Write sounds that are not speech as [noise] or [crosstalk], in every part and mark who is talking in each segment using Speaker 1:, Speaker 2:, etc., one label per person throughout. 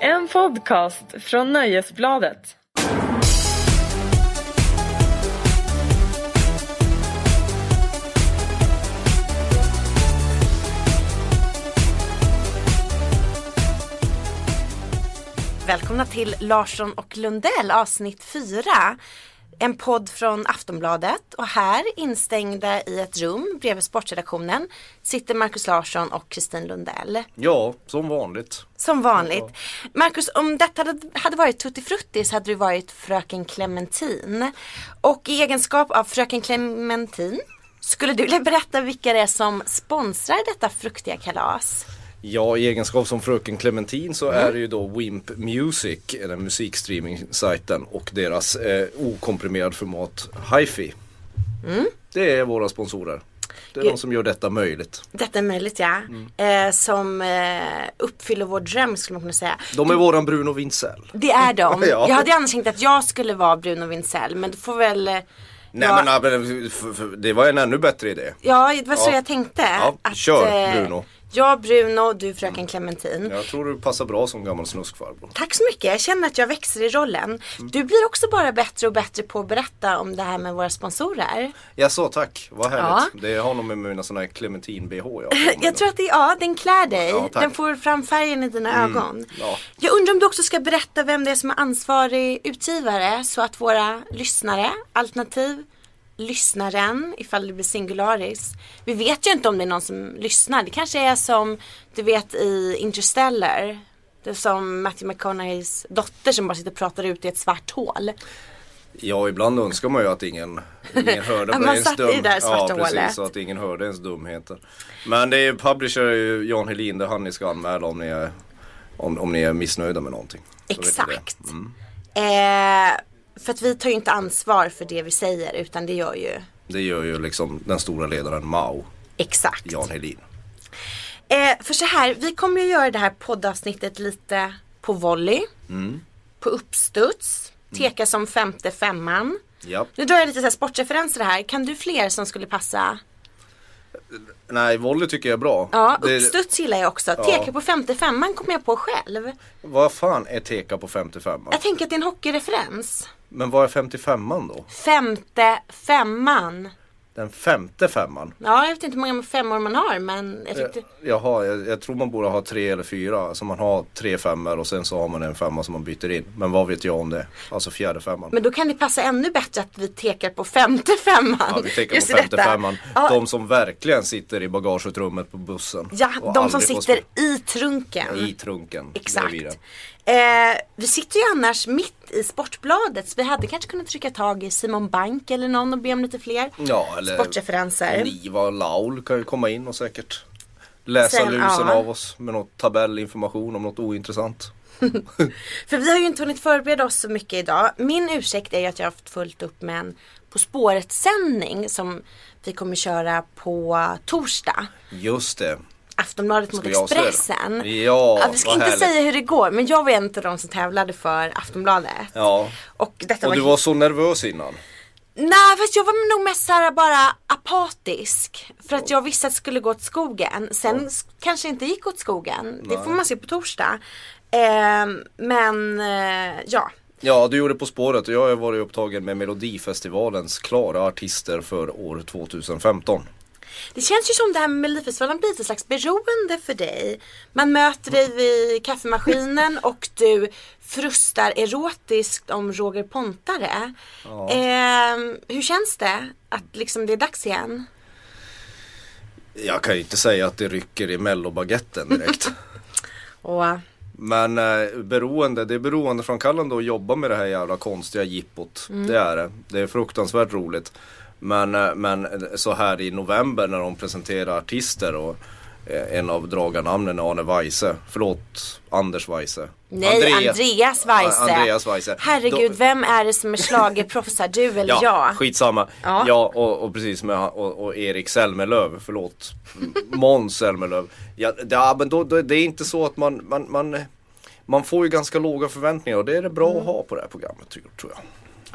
Speaker 1: En podcast från Nöjesbladet.
Speaker 2: Välkomna till Larsson och Lundell avsnitt 4. En podd från Aftonbladet och här instängda i ett rum bredvid sportredaktionen sitter Marcus Larsson och Kristin Lundell.
Speaker 3: Ja, som vanligt.
Speaker 2: Som vanligt. Marcus, om detta hade- hade varit Tutti Frutti så hade du varit Fröken Clementin. Och i egenskap av Fröken Clementin skulle du vilja berätta vilka det är som sponsrar detta fruktiga kalas?
Speaker 3: Ja, i egenskap som fröken Clementin så är det ju då Wimp Music, den musikstreaming-sajten och deras eh, okomprimerad format Hi-Fi.
Speaker 2: Mm.
Speaker 3: Det är våra sponsorer. Det är
Speaker 2: Gud.
Speaker 3: de som gör detta möjligt.
Speaker 2: Detta är möjligt ja. Eh, som eh, uppfyller vår dröm skulle man kunna säga.
Speaker 3: De är våran Bruno Wintzell.
Speaker 2: Det är de.
Speaker 3: [laughs] Ja.
Speaker 2: Jag hade annars tänkt att jag skulle vara Bruno Wintzell men du får väl eh,
Speaker 3: Nej
Speaker 2: ja,
Speaker 3: men ah, men, f- f- det var en ännu bättre idé.
Speaker 2: ja, det var så
Speaker 3: Ja.
Speaker 2: jag tänkte. eh,
Speaker 3: Ja, kör, Bruno. Mm.
Speaker 2: Jag Bruno, du fröken Clementin.
Speaker 3: Jag tror du passar bra som gammal snuskfarbror.
Speaker 2: Tack så mycket, jag känner att jag växer i rollen.
Speaker 3: Mm.
Speaker 2: Du blir också bara bättre och bättre på att berätta om det här med våra sponsorer.
Speaker 3: Jag sa tack, vad härligt.
Speaker 2: Ja.
Speaker 3: Det har nog med mina sådana här Clementin-bh jag
Speaker 2: [laughs] Jag tror att det, ja, den klär dig.
Speaker 3: Ja, tack. Mm.
Speaker 2: den får fram färgen i dina ögon.
Speaker 3: ja.
Speaker 2: Jag undrar om du också ska berätta vem det är som är ansvarig utgivare så att våra lyssnare, alternativ lyssnaren, ifall det blir singularis. Vi vet ju inte om det är någon som lyssnar. Det kanske är som du vet i Interstellar. Det är som Matthew McConaugheys dotter som bara sitter och pratar ut i ett svart hål.
Speaker 3: Ja, ibland önskar man ju att ingen,
Speaker 2: [laughs]
Speaker 3: ingen hörde
Speaker 2: Att
Speaker 3: på
Speaker 2: man
Speaker 3: ens
Speaker 2: satt i det där svarta
Speaker 3: ja, precis,
Speaker 2: hålet.
Speaker 3: så att ingen hörde ens dumheter. Men det är ju publisher är ju Jan Helin, det är han ni ska anmäla om ni är, om, om ni är missnöjda med någonting. Så vet ni det. Mm.
Speaker 2: Exakt. Eh, för att vi tar ju inte ansvar för det vi säger utan det gör ju
Speaker 3: Det gör ju liksom den stora ledaren Mao,
Speaker 2: Exakt.
Speaker 3: Jan Helin.
Speaker 2: Eh, för så här, vi kommer ju göra det här poddavsnittet lite på volley.
Speaker 3: Mm.
Speaker 2: På uppstuds. Teka som femte femman.
Speaker 3: Ja.
Speaker 2: Nu drar jag lite så här sportreferenser här. Kan du fler som skulle passa?
Speaker 3: Nej, volley tycker jag är bra.
Speaker 2: Ja,
Speaker 3: Det-
Speaker 2: uppstuds gillar jag också. Teka på femte femman kommer jag på själv.
Speaker 3: Vad fan är Teka på 55
Speaker 2: Jag tänker att det är en hockeyreferens.
Speaker 3: Men vad är 55an då?
Speaker 2: Femte femman.
Speaker 3: Den femte femman?
Speaker 2: Ja, jag vet inte hur många femmor man har men jag tyckte...
Speaker 3: Jaha, jag, jag tror man borde ha tre eller fyra. Alltså man har tre femmor och sen så har man en femma som man byter in. Men vad vet jag om det? Alltså fjärde femman.
Speaker 2: Men då kan det passa ännu bättre att vi tekar på femte femman.
Speaker 3: Ja, vi tänker
Speaker 2: Just i
Speaker 3: på femte
Speaker 2: detta.
Speaker 3: femman.
Speaker 2: Ja,
Speaker 3: De som verkligen sitter i bagagerummet på bussen.
Speaker 2: Ja,
Speaker 3: och
Speaker 2: de som
Speaker 3: aldrig får
Speaker 2: sitter i trunken.
Speaker 3: sp- i trunken. Det är
Speaker 2: Exakt.
Speaker 3: vi det.
Speaker 2: Eh, vi sitter ju annars mitt i Sportbladet så vi hade kanske kunnat trycka tag i Simon Bank eller någon och be om lite fler
Speaker 3: Ja, eller
Speaker 2: sportreferenser.
Speaker 3: Niva och Laul kan ju komma in och säkert läsa
Speaker 2: Sen,
Speaker 3: lusen
Speaker 2: ja.
Speaker 3: av oss med något tabellinformation om något ointressant.
Speaker 2: För vi har ju inte hunnit förbereda oss så mycket idag. Min ursäkt är ju att jag har haft fullt upp med en På spåret-sändning som vi kommer köra på torsdag.
Speaker 3: Just det.
Speaker 2: Aftonbladet mot
Speaker 3: Ska jag avslöja det?
Speaker 2: Expressen.
Speaker 3: Ja,
Speaker 2: vi ska
Speaker 3: vad
Speaker 2: inte
Speaker 3: härligt.
Speaker 2: säga hur det går men jag var en av de som tävlade för Aftonbladet.
Speaker 3: Ja.
Speaker 2: Och detta
Speaker 3: Och
Speaker 2: var,
Speaker 3: du var så nervös innan.
Speaker 2: Nej fast jag var nog mest såhär bara apatisk. För att jag visste att det skulle gå åt skogen. Sen s- kanske det inte gick åt skogen. Det får man se på torsdag. Ehm, men eh, ja.
Speaker 3: Ja, du gjorde På spåret och jag har varit upptagen med Melodifestivalens klara artister för år 2015.
Speaker 2: Det känns ju som det här med Melodifestivalen blir ett slags beroende för dig. Man möter dig vid kaffemaskinen och du frustar erotiskt om Roger Pontare. Ehm, hur känns det att liksom det är dags igen?
Speaker 3: Jag kan ju inte säga att det rycker i
Speaker 2: [laughs]
Speaker 3: mellobagetten direkt.
Speaker 2: Och
Speaker 3: Men eh, beroende, det är beroendeframkallande att jobba med det här jävla konstiga jippot.
Speaker 2: Mm.
Speaker 3: Det är det. Det är fruktansvärt roligt. Men, eh, men så här i november när de presenterar artister och eh, en av dragarnamnen är Arne Weise. Förlåt, Anders Weise.
Speaker 2: Nej, Andreas, Weise.
Speaker 3: Andreas Weise.
Speaker 2: Herregud,
Speaker 3: Då-
Speaker 2: vem är det som är schlagerproffs här?
Speaker 3: [laughs]
Speaker 2: Du eller
Speaker 3: Ja,
Speaker 2: jag?
Speaker 3: skitsamma.
Speaker 2: Ja.
Speaker 3: Ja, och, och precis med han- och, och Erik Selmelöv, förlåt. M- Måns Selmelöv. Ja, det- ja men då, då, det är inte så att man, man, man, man får ju ganska låga förväntningar och det är det bra att ha på det här programmet tror tror jag.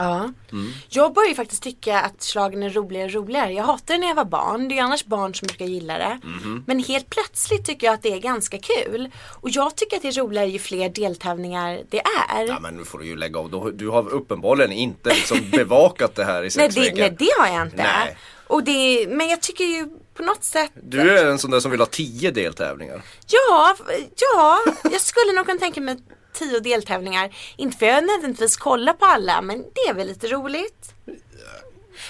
Speaker 2: Ja.
Speaker 3: Mm.
Speaker 2: Jag börjar ju faktiskt tycka att slagen är roligare och roligare. Jag hatade det när jag var barn. Det är ju annars barn som brukar gilla det.
Speaker 3: Mhm.
Speaker 2: Men helt plötsligt tycker jag att det är ganska kul. Och jag tycker att det är roligare ju fler deltävlingar det är.
Speaker 3: Ja men nu får du ju lägga av. Du- Du har uppenbarligen
Speaker 2: [laughs]
Speaker 3: inte liksom bevakat det här i
Speaker 2: nej,
Speaker 3: sex
Speaker 2: det,
Speaker 3: veckor.
Speaker 2: nej det har jag inte.
Speaker 3: Nej.
Speaker 2: Och det, men jag tycker ju på något sätt
Speaker 3: Du är en sån där som vill ha tio deltävlingar.
Speaker 2: Ja, ja, jag skulle nog kunna tänka mig tio deltävlingar. Inte för jag nödvändigtvis kollar på alla, men det är väl lite roligt.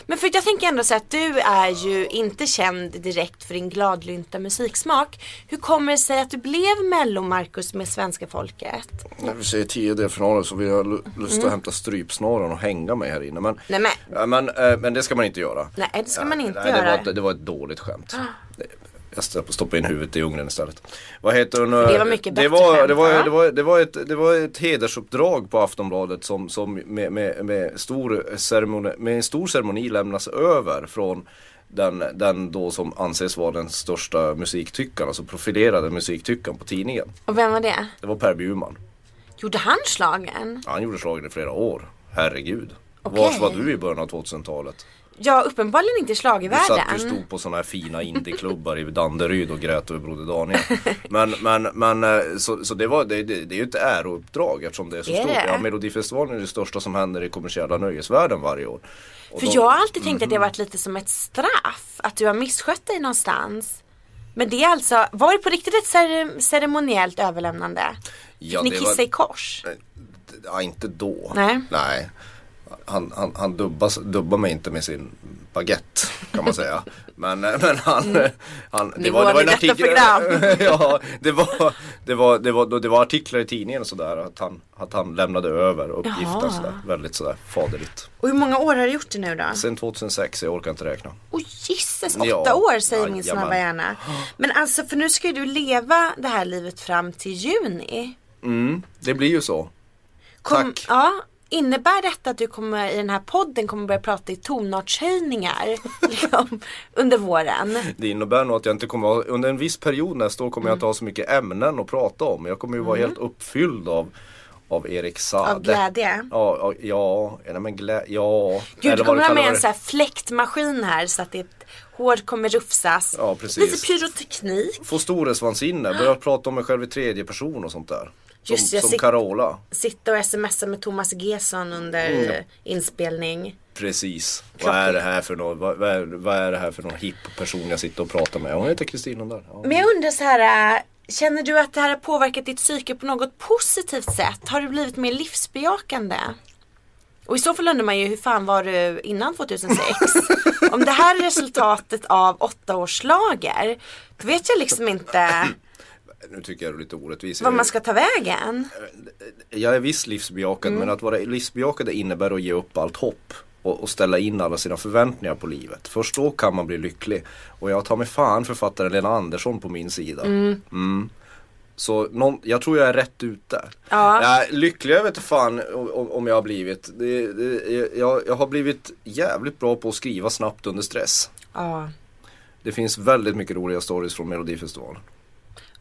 Speaker 2: Men för jag tänker ändå så att du är ju inte känd direkt för din gladlynta musiksmak. Hur kommer det sig att du blev mello-Marcus med svenska folket?
Speaker 3: När vi säger tio delfinaler så vill jag lu- lust att hämta strypsnaran och hänga mig här inne. Men,
Speaker 2: Mm. Nej, men.
Speaker 3: Ja, men, eh, men det ska man inte göra.
Speaker 2: Nej, det ska
Speaker 3: Ja,
Speaker 2: man inte
Speaker 3: nej, Det
Speaker 2: göra.
Speaker 3: var, ett- det var ett
Speaker 2: [gasps]
Speaker 3: dåligt skämt. Det- Jag stopp- stoppade in huvudet i ugnen istället. Vad heter hon? eh,
Speaker 2: det var mycket
Speaker 3: det
Speaker 2: bättre
Speaker 3: var,
Speaker 2: skämt,
Speaker 3: det, var,
Speaker 2: va?
Speaker 3: det, var, det, var ett, det var ett hedersuppdrag på Aftonbladet som, som med, med, med, stor ceremoni, med en stor ceremoni lämnas över från den, den då som anses vara den största musiktyckaren, alltså profilerade musiktyckaren på tidningen.
Speaker 2: Och vem var det?
Speaker 3: Det var Per Bjurman.
Speaker 2: Gjorde han slagen?
Speaker 3: Han gjorde slagen i flera år. Herregud.
Speaker 2: Okej.
Speaker 3: Vars var du i början av 2000-talet?
Speaker 2: Ja, uppenbarligen inte i
Speaker 3: Du satt
Speaker 2: schlagervärlden.
Speaker 3: du stod på sådana här fina indieklubbar i Danderyd och grät över Broder Daniel. Men, men, men eh, så, så det, var, det, det, det är ju ett ärouppdrag eftersom det är så
Speaker 2: Är
Speaker 3: stort.
Speaker 2: det?
Speaker 3: Ja, Melodifestivalen är det största som händer i kommersiella nöjesvärlden varje år. Och Mhm.
Speaker 2: För
Speaker 3: de-
Speaker 2: jag har alltid tänkt att det har varit lite som ett straff, att du har misskött dig någonstans. Men det är alltså, var det på riktigt ett cere- ceremoniellt överlämnande?
Speaker 3: ja,
Speaker 2: Ni
Speaker 3: det
Speaker 2: kissade
Speaker 3: var-
Speaker 2: i kors?
Speaker 3: Eh, Ja, inte då.
Speaker 2: Nej.
Speaker 3: Nej. Han, han, han dubbas, dubbar mig inte med sin baguette kan
Speaker 2: [laughs]
Speaker 3: man säga. Men, eh, men han, han
Speaker 2: Mm. Nivån i detta program.
Speaker 3: [laughs] ja, det var, det, var, det, var, det var artiklar i tidningen och sådär att han, att han lämnade över uppgiften
Speaker 2: Jaha.
Speaker 3: sådär, väldigt sådär faderligt.
Speaker 2: Och hur många år har du gjort det nu då?
Speaker 3: Sen 2006, jag orkar inte räkna.
Speaker 2: Åh jisses, åtta
Speaker 3: Ja,
Speaker 2: år säger min
Speaker 3: jajamän.
Speaker 2: snabba hjärna. Men alltså för nu ska ju du leva det här livet fram till juni.
Speaker 3: Mm, det blir ju så. Tack.
Speaker 2: Ja, innebär detta att du kommer i den här podden kommer börja prata i tonartshöjningar [laughs] liksom, under våren?
Speaker 3: Det innebär nog att jag inte kommer ha, under en viss period nästa år kommer jag inte
Speaker 2: Mm.
Speaker 3: ha så mycket ämnen att prata om. Jag kommer ju vara helt uppfylld av, av Erik Saade.
Speaker 2: Av glädje?
Speaker 3: Ja, ja, ja, nej men glä, ja.
Speaker 2: Gud, du
Speaker 3: Eller vad
Speaker 2: kommer ha med
Speaker 3: kallar
Speaker 2: en
Speaker 3: det.
Speaker 2: sån här fläktmaskin här så att ditt hår kommer rufsas.
Speaker 3: Ja, precis.
Speaker 2: Lite pyroteknik.
Speaker 3: Få storhetsvansinne, börja prata om mig själv i tredje person och sånt där. Som,
Speaker 2: Just det, jag
Speaker 3: som
Speaker 2: sitter-
Speaker 3: Carola.
Speaker 2: Sitta och smsa med Thomas Gesson under
Speaker 3: Mm.
Speaker 2: eh, inspelning.
Speaker 3: Precis. Vad
Speaker 2: Klart.
Speaker 3: är det här för någon, vad, vad, är, vad är det här för någon hipp person jag sitter och pratar med? Hon heter Kristina där. Ja.
Speaker 2: Men jag undrar så här, eh, känner du att det här har påverkat ditt psyke på något positivt sätt? Har du blivit mer livsbejakande? Och i så fall undrar man ju hur fan var du innan 2006?
Speaker 3: [laughs]
Speaker 2: Om det här är resultatet av åtta års slager, då vet jag liksom inte
Speaker 3: Nu tycker jag du är lite orättvis.
Speaker 2: vad man ska ta vägen.
Speaker 3: Jag är visst livsbejakande
Speaker 2: Mm.
Speaker 3: men att vara livsbejakande innebär att ge upp allt hopp och, och ställa in alla sina förväntningar på livet. Först då kan man bli lycklig. Och jag tar mig fan författaren Lena Andersson på min sida. Mm. Så någon, jag tror jag är rätt ute.
Speaker 2: Ja.
Speaker 3: Nej, lycklig jag vet inte fan om- om, om jag har blivit. Det, det, jag, jag har blivit jävligt bra på att skriva snabbt under stress.
Speaker 2: Ja.
Speaker 3: Det finns väldigt mycket roliga stories från Melodifestivalen.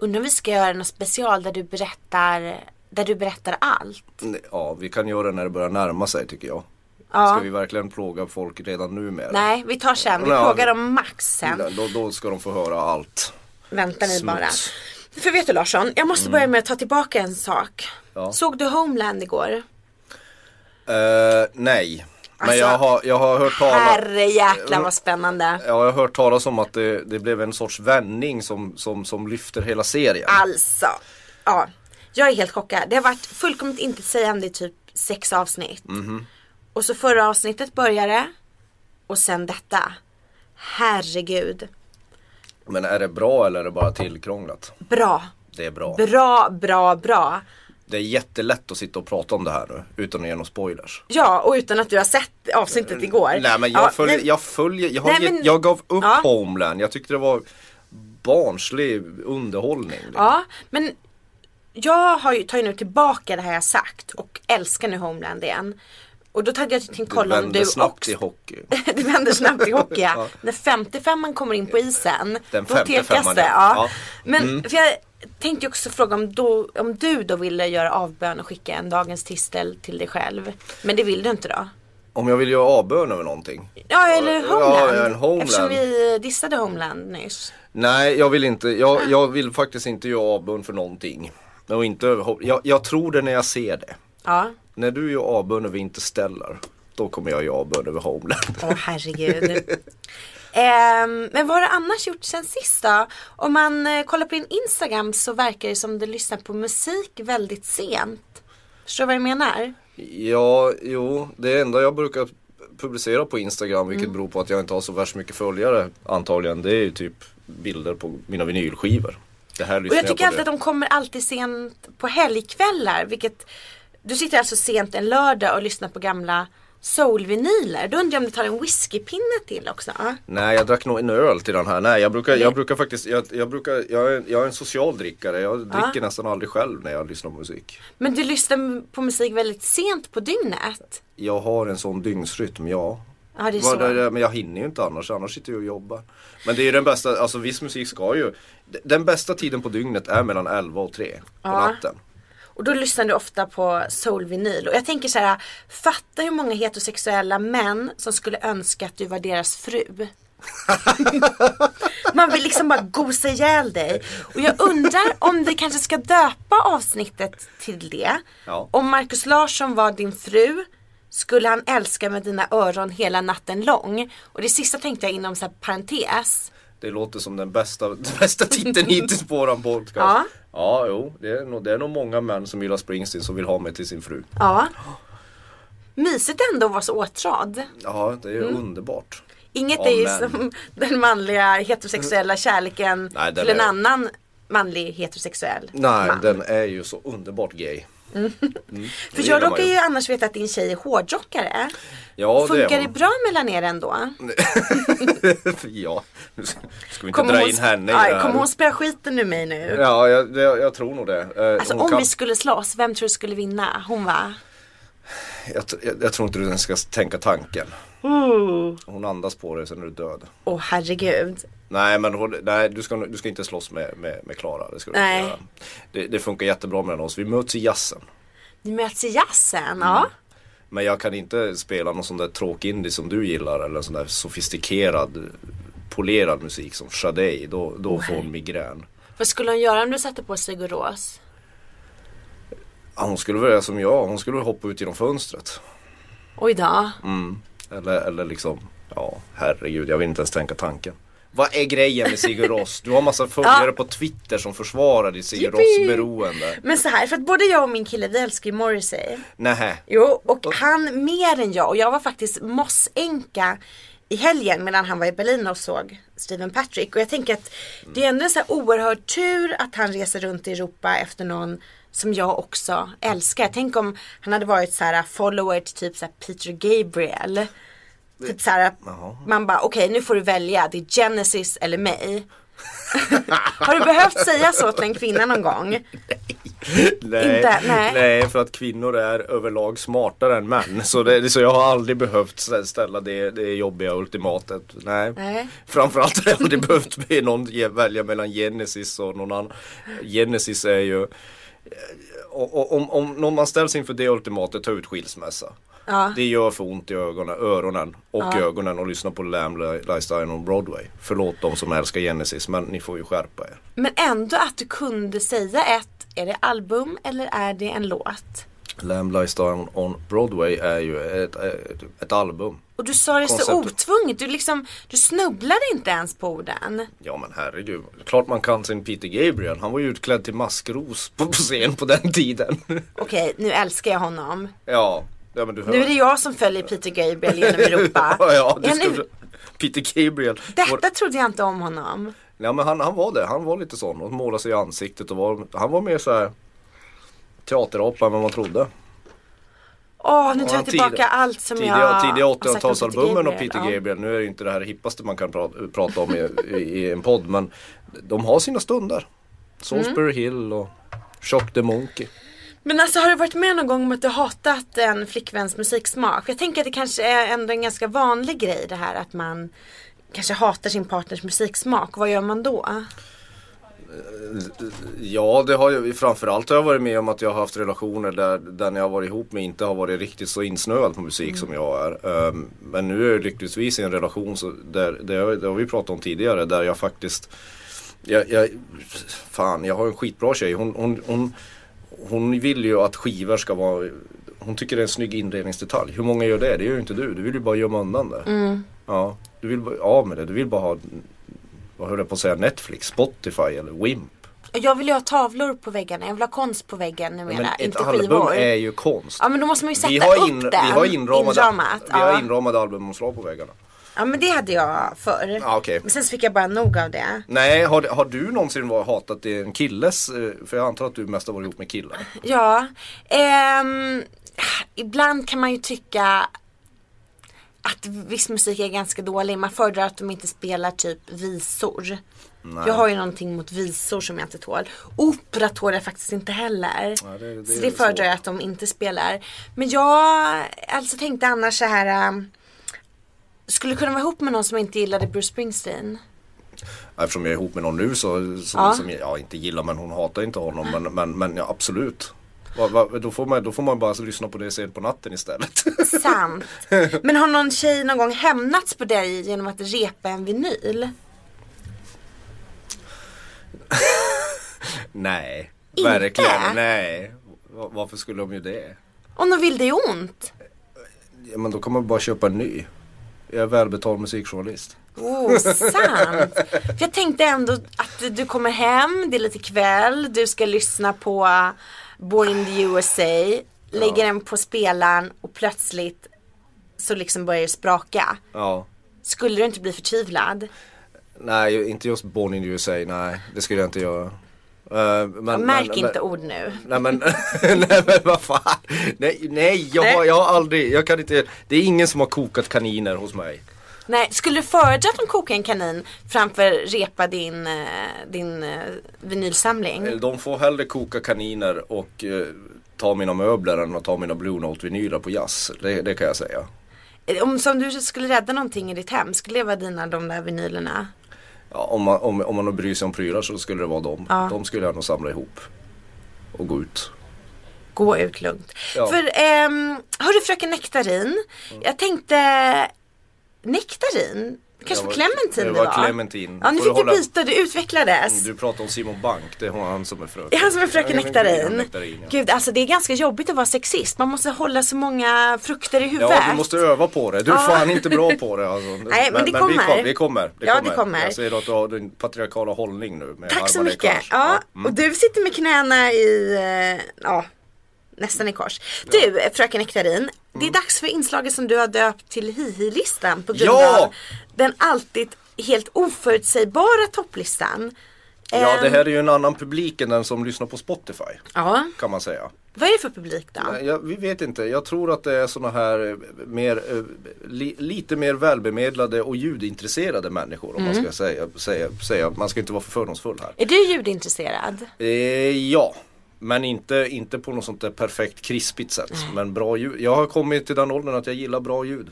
Speaker 2: Undrar om vi ska göra något special där du berättar, där du berättar allt.
Speaker 3: Ja, vi kan göra det när det börjar närma sig tycker jag.
Speaker 2: Mm. Ja.
Speaker 3: Ska vi verkligen plåga folk redan nu med det?
Speaker 2: Nej, vi tar sen. Vi
Speaker 3: Ja.
Speaker 2: frågar om Max sen.
Speaker 3: Ja, Då, då ska de få höra allt.
Speaker 2: Vänta ni
Speaker 3: Smuts. Mm.
Speaker 2: bara. För vet du Larsson, jag måste börja med att ta tillbaka en sak.
Speaker 3: Ja.
Speaker 2: Såg du Homeland igår?
Speaker 3: Eh, nej, men
Speaker 2: Alltså,
Speaker 3: jag, har, jag har hört tala Mm.
Speaker 2: Herre jäklar vad spännande.
Speaker 3: Ja, jag har hört talas om att det, det blev en sorts vändning som, som, som lyfter hela serien.
Speaker 2: Alltså, ja. Jag är helt chockad. Det har varit fullkomligt intetsägande i typ sex avsnitt.
Speaker 3: Mhm.
Speaker 2: Och så förra avsnittet började. Och sen detta. Herregud.
Speaker 3: Men är det bra eller är det bara tillkrånglat?
Speaker 2: Bra.
Speaker 3: Det är bra.
Speaker 2: Bra, bra, bra.
Speaker 3: Det är jättelätt att sitta och prata om det här nu utan att ge några spoilers.
Speaker 2: Ja, och utan att du har sett avsnittet igår.
Speaker 3: Mm, Nej men jag
Speaker 2: ja,
Speaker 3: följer,
Speaker 2: nej,
Speaker 3: jag följer, jag, har
Speaker 2: Nej,
Speaker 3: gett-
Speaker 2: men-
Speaker 3: jag gav upp
Speaker 2: Ja.
Speaker 3: Homeland. Jag tyckte det var barnslig underhållning.
Speaker 2: Ja, men jag har ju, tar ju nu tillbaka det här jag sagt och älskar nu Homeland igen. Och då hade jag tänkt
Speaker 3: det
Speaker 2: kolla om
Speaker 3: vände
Speaker 2: du
Speaker 3: snabbt
Speaker 2: [laughs] också...
Speaker 3: i hockey.
Speaker 2: det vänder snabbt i hockey ja.
Speaker 3: [laughs] Ja.
Speaker 2: När 55 kommer in på isen.
Speaker 3: Den
Speaker 2: då tekas
Speaker 3: 55:an,
Speaker 2: det.
Speaker 3: ja.
Speaker 2: Ja.
Speaker 3: Ja. Mm.
Speaker 2: Men för jag tänkte ju också fråga om, då, om du då ville göra avbön och skicka en dagens tistel till dig själv. Men det vill du inte då?
Speaker 3: Om jag vill göra avbön över någonting?
Speaker 2: Ja eller
Speaker 3: Ja,
Speaker 2: Homeland.
Speaker 3: en Homeland.
Speaker 2: Eftersom vi dissade Homeland nyss.
Speaker 3: Nej, jag vill inte.
Speaker 2: Ah.
Speaker 3: Jag, jag vill faktiskt inte göra avbön för någonting. Och inte, över- jag, jag tror det när jag ser det.
Speaker 2: Ja.
Speaker 3: När du gör avbön över Interstellar, då kommer jag göra avbön över Homeland. [laughs]
Speaker 2: Åh herregud. Ehm, men vad har du annars gjort sen sist då? Om man eh, kollar på din Instagram så verkar det som du lyssnar på musik väldigt sent. Förstår du vad jag menar?
Speaker 3: Ja, jo, det enda jag brukar publicera på Instagram,
Speaker 2: Mm.
Speaker 3: vilket beror på att jag inte har så värst mycket följare antagligen, det är ju typ bilder på mina vinylskivor. Det här
Speaker 2: Och
Speaker 3: lyssnar
Speaker 2: jag
Speaker 3: jag,
Speaker 2: tycker
Speaker 3: på
Speaker 2: alltid
Speaker 3: det.
Speaker 2: att de kommer alltid sent på helgkvällar. Vilket, du sitter alltså sent en lördag och lyssnar på gamla soulvinyler. Då undrar jag om du tar en whiskypinne till också. Ja.
Speaker 3: Nej, jag drack nog en öl till den här. Nej, jag brukar, jag brukar faktiskt, jag, jag brukar, jag är, jag är en social drickare. Jag
Speaker 2: Ah.
Speaker 3: dricker nästan aldrig själv när jag lyssnar på musik.
Speaker 2: Men du lyssnar på musik väldigt sent på dygnet.
Speaker 3: Jag har en sån dygnsrytm, ja.
Speaker 2: Ja det är
Speaker 3: Vad-
Speaker 2: så.
Speaker 3: det- Men jag hinner ju inte annars, annars sitter jag och jobbar. Men det är ju den bästa, alltså viss musik ska ju d- Den bästa tiden på dygnet är mellan 11 och 3 på
Speaker 2: Ja.
Speaker 3: natten.
Speaker 2: Och då lyssnar du ofta på soulvinyl. Och jag tänker så här, fatta hur många heterosexuella män som skulle önska att du var deras fru. Man vill liksom bara gosa ihjäl dig. Och jag undrar om vi kanske ska döpa avsnittet till det.
Speaker 3: Ja.
Speaker 2: Om Markus Larsson var din fru skulle han älska med dina öron hela natten lång. Och det sista tänkte jag inom så här parentes.
Speaker 3: Det låter som den bästa, [laughs] den bästa titeln hittills på våran podcast.
Speaker 2: Ja.
Speaker 3: ja jo, det är, nog, det är nog många män som gillar Springsteen som vill ha mig till sin fru.
Speaker 2: Ja. Mysigt ändå att vara så åtrådd.
Speaker 3: Ja, det är
Speaker 2: Mm.
Speaker 3: underbart.
Speaker 2: Inget
Speaker 3: Amen.
Speaker 2: är ju som [laughs] den manliga heterosexuella kärleken
Speaker 3: Mm. Nej, den
Speaker 2: till en
Speaker 3: är-
Speaker 2: annan manlig heterosexuell
Speaker 3: Nej,
Speaker 2: man.
Speaker 3: den är ju så underbart gay.
Speaker 2: För
Speaker 3: gillar
Speaker 2: jag
Speaker 3: man
Speaker 2: råkar
Speaker 3: ju.
Speaker 2: ju annars veta att din tjej är hårdrockare.
Speaker 3: Ja, det
Speaker 2: Funkar
Speaker 3: är
Speaker 2: det
Speaker 3: hon.
Speaker 2: bra mellan er ändå?
Speaker 3: [laughs] ja, nu ska ska vi inte dra in henne i det
Speaker 2: nej,
Speaker 3: här.
Speaker 2: kommer hon spöa skiten ur mig nu?
Speaker 3: Ja, jag, det, jag tror nog det. Eh,
Speaker 2: alltså
Speaker 3: hon
Speaker 2: om
Speaker 3: kan-
Speaker 2: vi skulle slåss, vem tror du skulle vinna? Hon va?
Speaker 3: jag, tr- jag, jag tror inte du ens ska tänka tanken. Hon andas på dig sen är du död.
Speaker 2: Åh herregud.
Speaker 3: Nej men hon, nej, du, ska, du ska inte slåss med, med, med Klara. Det, ska du
Speaker 2: Nej.
Speaker 3: inte göra. det, det funkar jättebra mellan oss. Vi möts i jazzen.
Speaker 2: Ni möts i jazzen,
Speaker 3: Mm.
Speaker 2: ja.
Speaker 3: Men jag kan inte spela någon sån där tråkig indie som du gillar eller sån där sofistikerad polerad musik som Sade. Då, då får hon migrän.
Speaker 2: Vad skulle hon göra om du satte på Sigur Ros?
Speaker 3: Ja, hon skulle väl göra som jag. Hon skulle väl hoppa ut genom fönstret.
Speaker 2: Oj då.
Speaker 3: Mm. Eller, eller liksom, ja herregud jag vill inte ens tänka tanken. Vad är grejen med Sigur Ros? Du har massa följare
Speaker 2: Ja.
Speaker 3: på Twitter som försvarar ditt Sigur
Speaker 2: Yippee!
Speaker 3: Ros beroende.
Speaker 2: Men så här, för att både jag och min kille vi älskar ju Morrissey.
Speaker 3: Nähä.
Speaker 2: Jo, och han mer än jag. Och jag var faktiskt mossänka i helgen medan han var i Berlin och såg Steven Patrick. Och jag tänker att det är ändå en så här oerhörd tur att han reser runt i Europa efter någon som jag också älskar. Tänk om han hade varit så här follower till typ så här Peter Gabriel. Typ så här,
Speaker 3: Jaha.
Speaker 2: man bara okej nu får du välja, det är Genesis eller mig. [laughs] Har du behövt säga så till en kvinna någon gång?
Speaker 3: Nej,
Speaker 2: Inte, nej.
Speaker 3: för att kvinnor är överlag smartare än män. [laughs] Så, det, så jag har aldrig behövt stä- ställa det, det jobbiga ultimatet. Nej.
Speaker 2: Nej.
Speaker 3: Framförallt har jag aldrig [laughs] behövt be någon ge, välja mellan Genesis och någon annan. Genesis är ju och- och- om, om, om man ställs inför det ultimatet, ta ut skilsmässa.
Speaker 2: Ja.
Speaker 3: Det gör för ont i ögonen, öronen och ögonen och lyssna på Lamb Lifestyle on Broadway. Förlåt de som älskar Genesis men ni får ju skärpa er.
Speaker 2: Men ändå att du kunde säga ett, är det album eller är det en låt?
Speaker 3: Lamb Lifestyle on Broadway är ju ett, ett, ett album.
Speaker 2: Och du sa det så
Speaker 3: Konceptet.
Speaker 2: otvunget, du liksom, du snubblade inte ens på orden.
Speaker 3: Ja men herregud, klart man kan sin Peter Gabriel. Han var ju utklädd till maskros på på scen på den tiden. [laughs]
Speaker 2: Okej, nu älskar jag honom.
Speaker 3: ja, ja men du hör.
Speaker 2: Nu är det jag som följer Peter Gabriel
Speaker 3: [laughs]
Speaker 2: genom Europa.
Speaker 3: ja, ja, du
Speaker 2: Är han
Speaker 3: ska...
Speaker 2: ut-
Speaker 3: Peter Gabriel. Vår-
Speaker 2: Detta trodde jag inte om honom.
Speaker 3: Ja men han, han var det, han var lite sån och målade sig i ansiktet och var, han var mer så här teaterapa än vad man trodde.
Speaker 2: Åh, nu
Speaker 3: Och
Speaker 2: tar
Speaker 3: han
Speaker 2: jag tillbaka
Speaker 3: tidiga-
Speaker 2: allt som
Speaker 3: Tidiga,
Speaker 2: jag
Speaker 3: tidiga
Speaker 2: har sagt om
Speaker 3: 80-talsalbumen och Peter
Speaker 2: ja.
Speaker 3: Gabriel, nu är det inte det här hippaste man kan pra, prata om i, i, i en podd men de har sina stunder. Salisbury Hill och Shock the Monkey.
Speaker 2: Men alltså har du varit med någon gång om att du hatat en flickväns musiksmak? Jag tänker att det kanske är ändå en ganska vanlig grej det här att man kanske hatar sin partners musiksmak. Vad gör man då?
Speaker 3: Ja, det har jag, framförallt har jag varit med om att jag har haft relationer där den jag har varit ihop med inte har varit riktigt så insnöad på musik som jag är. Ehm, men nu är jag lyckligtvis i en relation, så där, det, har, det har vi pratat om tidigare, där jag faktiskt jag, jag, fan, jag har en skitbra tjej. Hon, hon, hon, hon vill ju att skivor ska vara... Hon tycker det är en snygg inredningsdetalj. Hur många gör det? Det gör ju inte du. Du vill ju bara gömma undan det. Ja, du vill bara av med det. Du vill bara ha, vad höll jag på att säga, Netflix, Spotify eller Wimp.
Speaker 2: Och Jag vill ju ha tavlor på väggarna, jag vill ha konst på väggen
Speaker 3: Men
Speaker 2: numera,
Speaker 3: ett
Speaker 2: inte
Speaker 3: album
Speaker 2: skivor.
Speaker 3: är ju konst.
Speaker 2: Ja men då måste man ju sätta
Speaker 3: Vi har,
Speaker 2: upp
Speaker 3: in,
Speaker 2: den.
Speaker 3: vi har inramade,
Speaker 2: inramat.
Speaker 3: vi har
Speaker 2: ja.
Speaker 3: inramade albumomslag på väggarna.
Speaker 2: ja men det hade jag förr.
Speaker 3: Ja, okej.
Speaker 2: Men sen så fick jag bara nog av det.
Speaker 3: Nej, har, har du någonsin var- hatat en killes, eh, för jag antar att du mest har varit ihop med killar?
Speaker 2: Ja, ehm, ibland kan man ju tycka att viss musik är ganska dålig. Man föredrar att de inte spelar typ visor. Jag har ju någonting mot visor som jag inte tål. Opera tål jag faktiskt inte heller.
Speaker 3: Ja, det- det
Speaker 2: så
Speaker 3: är
Speaker 2: det
Speaker 3: svårt.
Speaker 2: föredrar jag att de inte spelar. Men jag alltså tänkte annars så här. ehm, skulle kunna vara ihop med någon som inte gillade Bruce Springsteen.
Speaker 3: Eftersom jag är ihop med någon nu så, som,
Speaker 2: Ja.
Speaker 3: som jag ja, inte gillar men hon hatar inte honom men, men, men ja, absolut. Va, va, då, får man, då får man bara lyssna på det sent på natten istället. [laughs]
Speaker 2: Sant. Men har någon tjej någon gång hämnats på dig genom att repa en vinyl?
Speaker 3: nej,
Speaker 2: Inte?
Speaker 3: verkligen nej. Va- Varför skulle de ju det?
Speaker 2: Om de vill dig ont?
Speaker 3: Ja, men då kan man bara köpa en ny. Jag är välbetald musikjournalist.
Speaker 2: Oh, [laughs] sant. För jag tänkte ändå att du kommer hem, det är lite kväll, du ska lyssna på Born in the USA, lägger den på spelaren och plötsligt så liksom börjar det spraka.
Speaker 3: Ja.
Speaker 2: Skulle du inte bli förtvivlad?
Speaker 3: Nej, inte just Born in the USA, nej. Det skulle jag inte göra. Eh, men,
Speaker 2: Märk
Speaker 3: men-
Speaker 2: inte
Speaker 3: men-
Speaker 2: ord nu.
Speaker 3: Nej men, [laughs] nej men vad fan. Nej, nej, jag, Har, jag har aldrig, jag kan inte, det är ingen som har kokat kaniner hos mig.
Speaker 2: Nej, skulle du föredra att de kokar en kanin framför repa din, eh, din eh, vinylsamling?
Speaker 3: Eller De får hellre koka kaniner och eh, ta mina möbler än att ta mina Blue Note-vinyler på jazz. Det, det kan jag säga. Eh.
Speaker 2: Om som du skulle rädda någonting i ditt hem, skulle det vara dina de där vinylerna?
Speaker 3: Ja, om, man, om, om man nu bryr sig om prylar så skulle det vara dem.
Speaker 2: Ja.
Speaker 3: De skulle jag nog samla ihop och gå ut.
Speaker 2: Gå ut lugnt.
Speaker 3: Ja. Mm.
Speaker 2: För, ehm, hörru fröken Nektarin. Jag tänkte Nektarin? Kanske
Speaker 3: Jag var-
Speaker 2: var, Clementin
Speaker 3: det
Speaker 2: det
Speaker 3: var
Speaker 2: var?
Speaker 3: Clementin.
Speaker 2: Ja, nu
Speaker 3: Får
Speaker 2: fick
Speaker 3: du
Speaker 2: du
Speaker 3: hålla-
Speaker 2: byta, du utvecklades.
Speaker 3: Mm, Du pratade om Simon Bank, det är han som är
Speaker 2: Det
Speaker 3: fröken.
Speaker 2: är han som är fröken
Speaker 3: Ja, det är
Speaker 2: Nektarin.
Speaker 3: Nektarin, ja.
Speaker 2: Gud, alltså det är ganska jobbigt att vara sexist. Man måste hålla så många frukter i huvudet.
Speaker 3: Ja, du måste öva på det. Du är
Speaker 2: Ja.
Speaker 3: fan inte bra på det alltså.
Speaker 2: [laughs] Nej, men det
Speaker 3: Vi
Speaker 2: kommer.
Speaker 3: kommer. Vi kommer.
Speaker 2: Ja, det kommer.
Speaker 3: Jag säger att du har din patriarkala hållning nu. Med
Speaker 2: Tack så
Speaker 3: armarna i
Speaker 2: mycket.
Speaker 3: kors. mm.
Speaker 2: Ja, och du sitter med knäna i, eh, ja, nästan i kors. Du, eh, fröken Nektarin. Det
Speaker 3: Mm.
Speaker 2: är dags för inslaget som du har döpt till hihi-listan på grund
Speaker 3: Ja!
Speaker 2: av den alltid helt oförutsägbara topplistan.
Speaker 3: Ja, det
Speaker 2: Ehm,
Speaker 3: här är ju en annan publik än den som lyssnar på Spotify.
Speaker 2: ja.
Speaker 3: Kan man säga.
Speaker 2: Vad är det för publik då?
Speaker 3: Nej, Jag, vi vet inte. Jag tror att det är såna här eh, mer, eh, li, lite mer välbemedlade och ljudintresserade människor. Om
Speaker 2: Mm.
Speaker 3: man ska säga, säga, säga. Man ska inte vara för fördomsfull här.
Speaker 2: Är du ljudintresserad?
Speaker 3: Eh, ja, men inte, inte på något sånt där perfekt krispigt sätt. Men bra ljud. Jag har kommit till den åldern att jag gillar bra ljud.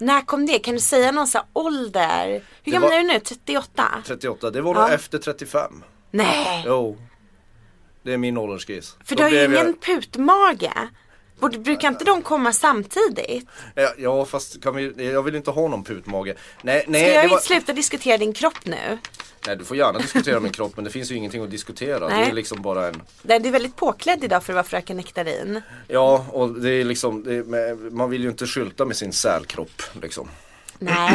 Speaker 2: När kom det? Kan du säga någon sån här ålder? Hur
Speaker 3: Det
Speaker 2: gammal
Speaker 3: var-
Speaker 2: är du nu? 38?
Speaker 3: 38, det var nog
Speaker 2: Ja.
Speaker 3: efter 35.
Speaker 2: Nej!
Speaker 3: Jo. Det är min åldersgris.
Speaker 2: För
Speaker 3: Då
Speaker 2: du har ju
Speaker 3: blev jag-
Speaker 2: ingen putmage. Borde, brukar inte de komma samtidigt?
Speaker 3: Ja, Ja fast kan vi... jag vill inte ha någon putmage. Nej,
Speaker 2: Ska
Speaker 3: nej, Eh, det
Speaker 2: jag
Speaker 3: var...
Speaker 2: sluta diskutera din kropp nu?
Speaker 3: nej du får gärna diskutera min kropp men det finns ju ingenting att diskutera. Det
Speaker 2: Nej.
Speaker 3: är liksom bara en...
Speaker 2: Nej, Du är väldigt påklädd idag för att vara fröken Nektarin.
Speaker 3: Ja och det är liksom, det är... men man vill ju inte skylta med sin sälkropp liksom. [clears throat]
Speaker 2: Nej.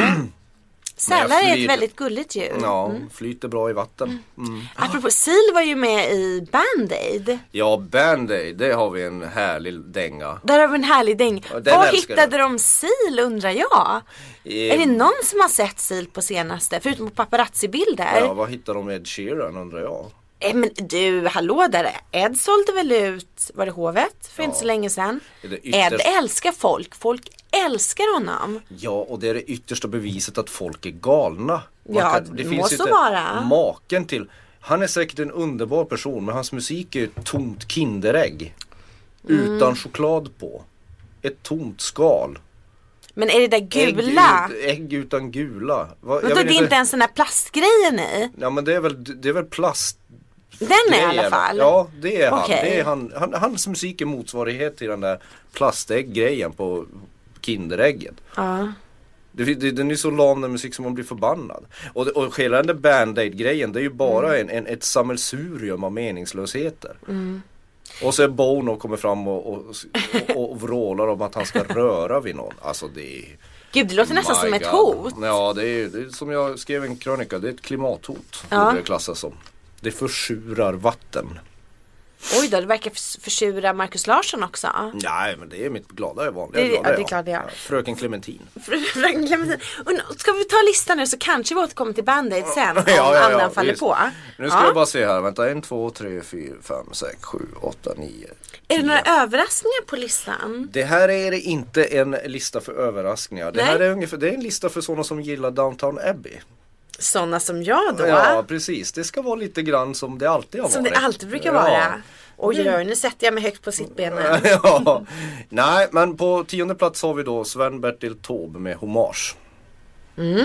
Speaker 2: Sälar är
Speaker 3: flyr-
Speaker 2: ett väldigt gulligt djur.
Speaker 3: Ja, flyter bra i vatten. Mm.
Speaker 2: Apropå Sil var ju med i Band-Aid.
Speaker 3: Ja, Band-Aid, det har vi en härlig dänga.
Speaker 2: Där har vi en härlig däng.
Speaker 3: Ja, den
Speaker 2: Var
Speaker 3: älskar
Speaker 2: hittade de Sil undrar jag?
Speaker 3: Eh,
Speaker 2: Är det någon som har sett Sil på senaste? Förutom på paparazzi-bilder.
Speaker 3: Ja, vad hittar de Ed Sheeran undrar jag?
Speaker 2: Eh, men du, hallå där. Ed sålde väl ut, var det hovet? För inte så länge sedan.
Speaker 3: Det är det
Speaker 2: Ed
Speaker 3: ytterst-
Speaker 2: älskar folk. Folk älskar honom.
Speaker 3: Ja, och det är det yttersta beviset att folk är galna. Man
Speaker 2: Ja, det må
Speaker 3: ju
Speaker 2: så
Speaker 3: inte
Speaker 2: vara.
Speaker 3: maken till. Han är säkert en underbar person, men hans musik är ett tomt Kinderägg.
Speaker 2: Mm.
Speaker 3: Utan choklad på. Ett tomt skal.
Speaker 2: Men är det där
Speaker 3: Ägg
Speaker 2: gula?
Speaker 3: ut- Ägg utan gula. Va,
Speaker 2: Men
Speaker 3: jag
Speaker 2: då,
Speaker 3: vet
Speaker 2: det är inte ens den där plastgrejen i?
Speaker 3: Ja men det är väl, det är väl plast
Speaker 2: Den är i alla
Speaker 3: grejen.
Speaker 2: fall.
Speaker 3: Ja, det är han.
Speaker 2: Okej.
Speaker 3: Det är han, han. Hans musik är motsvarighet till den där plastägg-grejen på Kinderäggen.
Speaker 2: Ja.
Speaker 3: Det, fin- det, den är så lam den musik som man blir förbannad. Och, det- och hela den där Band-Aid-grejen det är ju bara
Speaker 2: Mm.
Speaker 3: en, en, ett sammelsurium av meningslösheter. Och så är Bono och kommer fram och, och, och, och vrålar om att han ska röra vid någon. Alltså det är...
Speaker 2: Gud, det låter nästan
Speaker 3: My
Speaker 2: som ett
Speaker 3: God.
Speaker 2: hot.
Speaker 3: Ja, det är, ju- det är som jag skrev i en krönika, det är ett klimathot.
Speaker 2: Ja.
Speaker 3: borde Det klassas som. Det försurar vatten.
Speaker 2: Oj då, det verkar förs- försura Markus Larsson också. [laughs]
Speaker 3: Nej, men det är mitt glada, vanliga
Speaker 2: Det-
Speaker 3: glada
Speaker 2: ja, det är klart det är.
Speaker 3: Fröken Clementin.
Speaker 2: Frank Clementin. Und- Ska vi ta listan nu så kanske vi återkommer till Band-Aid sen om
Speaker 3: [laughs] Ja, ja, ja,
Speaker 2: andan faller
Speaker 3: visst.
Speaker 2: på.
Speaker 3: Nu ska
Speaker 2: Ja.
Speaker 3: jag bara se här, vänta. en, två, tre, fyra, fem, sex, sju, åtta, nio.
Speaker 2: Är det några överraskningar på listan?
Speaker 3: Det här är det inte en lista för överraskningar. Det
Speaker 2: Nej.
Speaker 3: här är ungefär, det är en lista för sådana som gillar Downtown Abbey.
Speaker 2: Sådana som jag då?
Speaker 3: Ja, precis. Det ska vara lite grann som det alltid har
Speaker 2: som
Speaker 3: varit.
Speaker 2: det alltid brukar
Speaker 3: Ja. Mm.
Speaker 2: vara. Oj, oj, oj, nu sätter jag mig högt på sittbenen.
Speaker 3: [laughs] ja. Nej, men på tionde plats har vi då Sven-Bertil Taube med Hommage.
Speaker 2: Mm.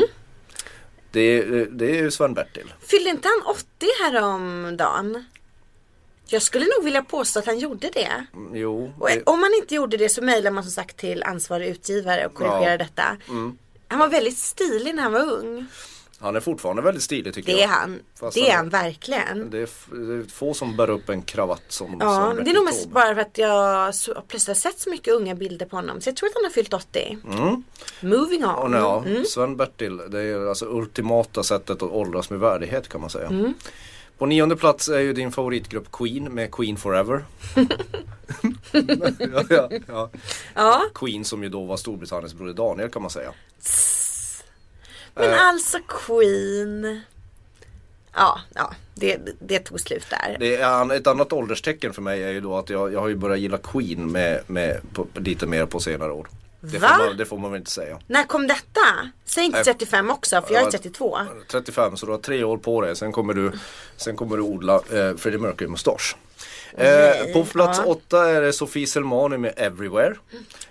Speaker 3: Det, är- det är ju Sven-Bertil.
Speaker 2: Fyllde inte han 80 häromdagen? Jag skulle nog vilja påstå att han gjorde det.
Speaker 3: Jo,
Speaker 2: Och
Speaker 3: det,
Speaker 2: om han inte gjorde det så mejlar man som sagt till ansvarig utgivare och korrigerar
Speaker 3: Ja. Mm.
Speaker 2: detta. Han var väldigt stilig när han var ung.
Speaker 3: han är fortfarande väldigt stilig tycker
Speaker 2: Det är
Speaker 3: jag.
Speaker 2: han.
Speaker 3: Fast
Speaker 2: det är
Speaker 3: han-
Speaker 2: han verkligen.
Speaker 3: Det är, f- det är få som bär upp en kravatt som
Speaker 2: Ja,
Speaker 3: Sven-Bertil
Speaker 2: det är nog
Speaker 3: Taube.
Speaker 2: mest bara för att jag så, plötsligt har sett så mycket unga bilder på honom. Så jag tror att han har fyllt 80. Moving on.
Speaker 3: Och Mm. ja,
Speaker 2: Mm.
Speaker 3: Sven-Bertil, det är alltså ultimata sättet att åldras med värdighet kan man säga.
Speaker 2: Mm.
Speaker 3: På nionde plats är ju din favoritgrupp Queen med
Speaker 2: [laughs]
Speaker 3: Queen Forever. ja, ja, ja.
Speaker 2: Ja.
Speaker 3: Queen som ju då var Storbritanniens Broder Daniel kan man säga.
Speaker 2: Men
Speaker 3: Eh.
Speaker 2: alltså Queen. Ja, ja. Det, det tog slut där.
Speaker 3: Det är, an- ett annat ålderstecken för mig är ju då att jag, jag har ju börjat gilla Queen med, med, på, lite mer på senare år. Det
Speaker 2: Va?
Speaker 3: får, man, det får man väl inte säga.
Speaker 2: När kom detta? Säg inte
Speaker 3: Nej.
Speaker 2: 35 också för jag är
Speaker 3: Ja,
Speaker 2: 32.
Speaker 3: 35 så du har tre år på dig. Sen kommer du, sen kommer du odla eh, Freddie Mercury-mustasch. Eh, på plats
Speaker 2: ja.
Speaker 3: åtta är det Sofie Selmani med Everywhere.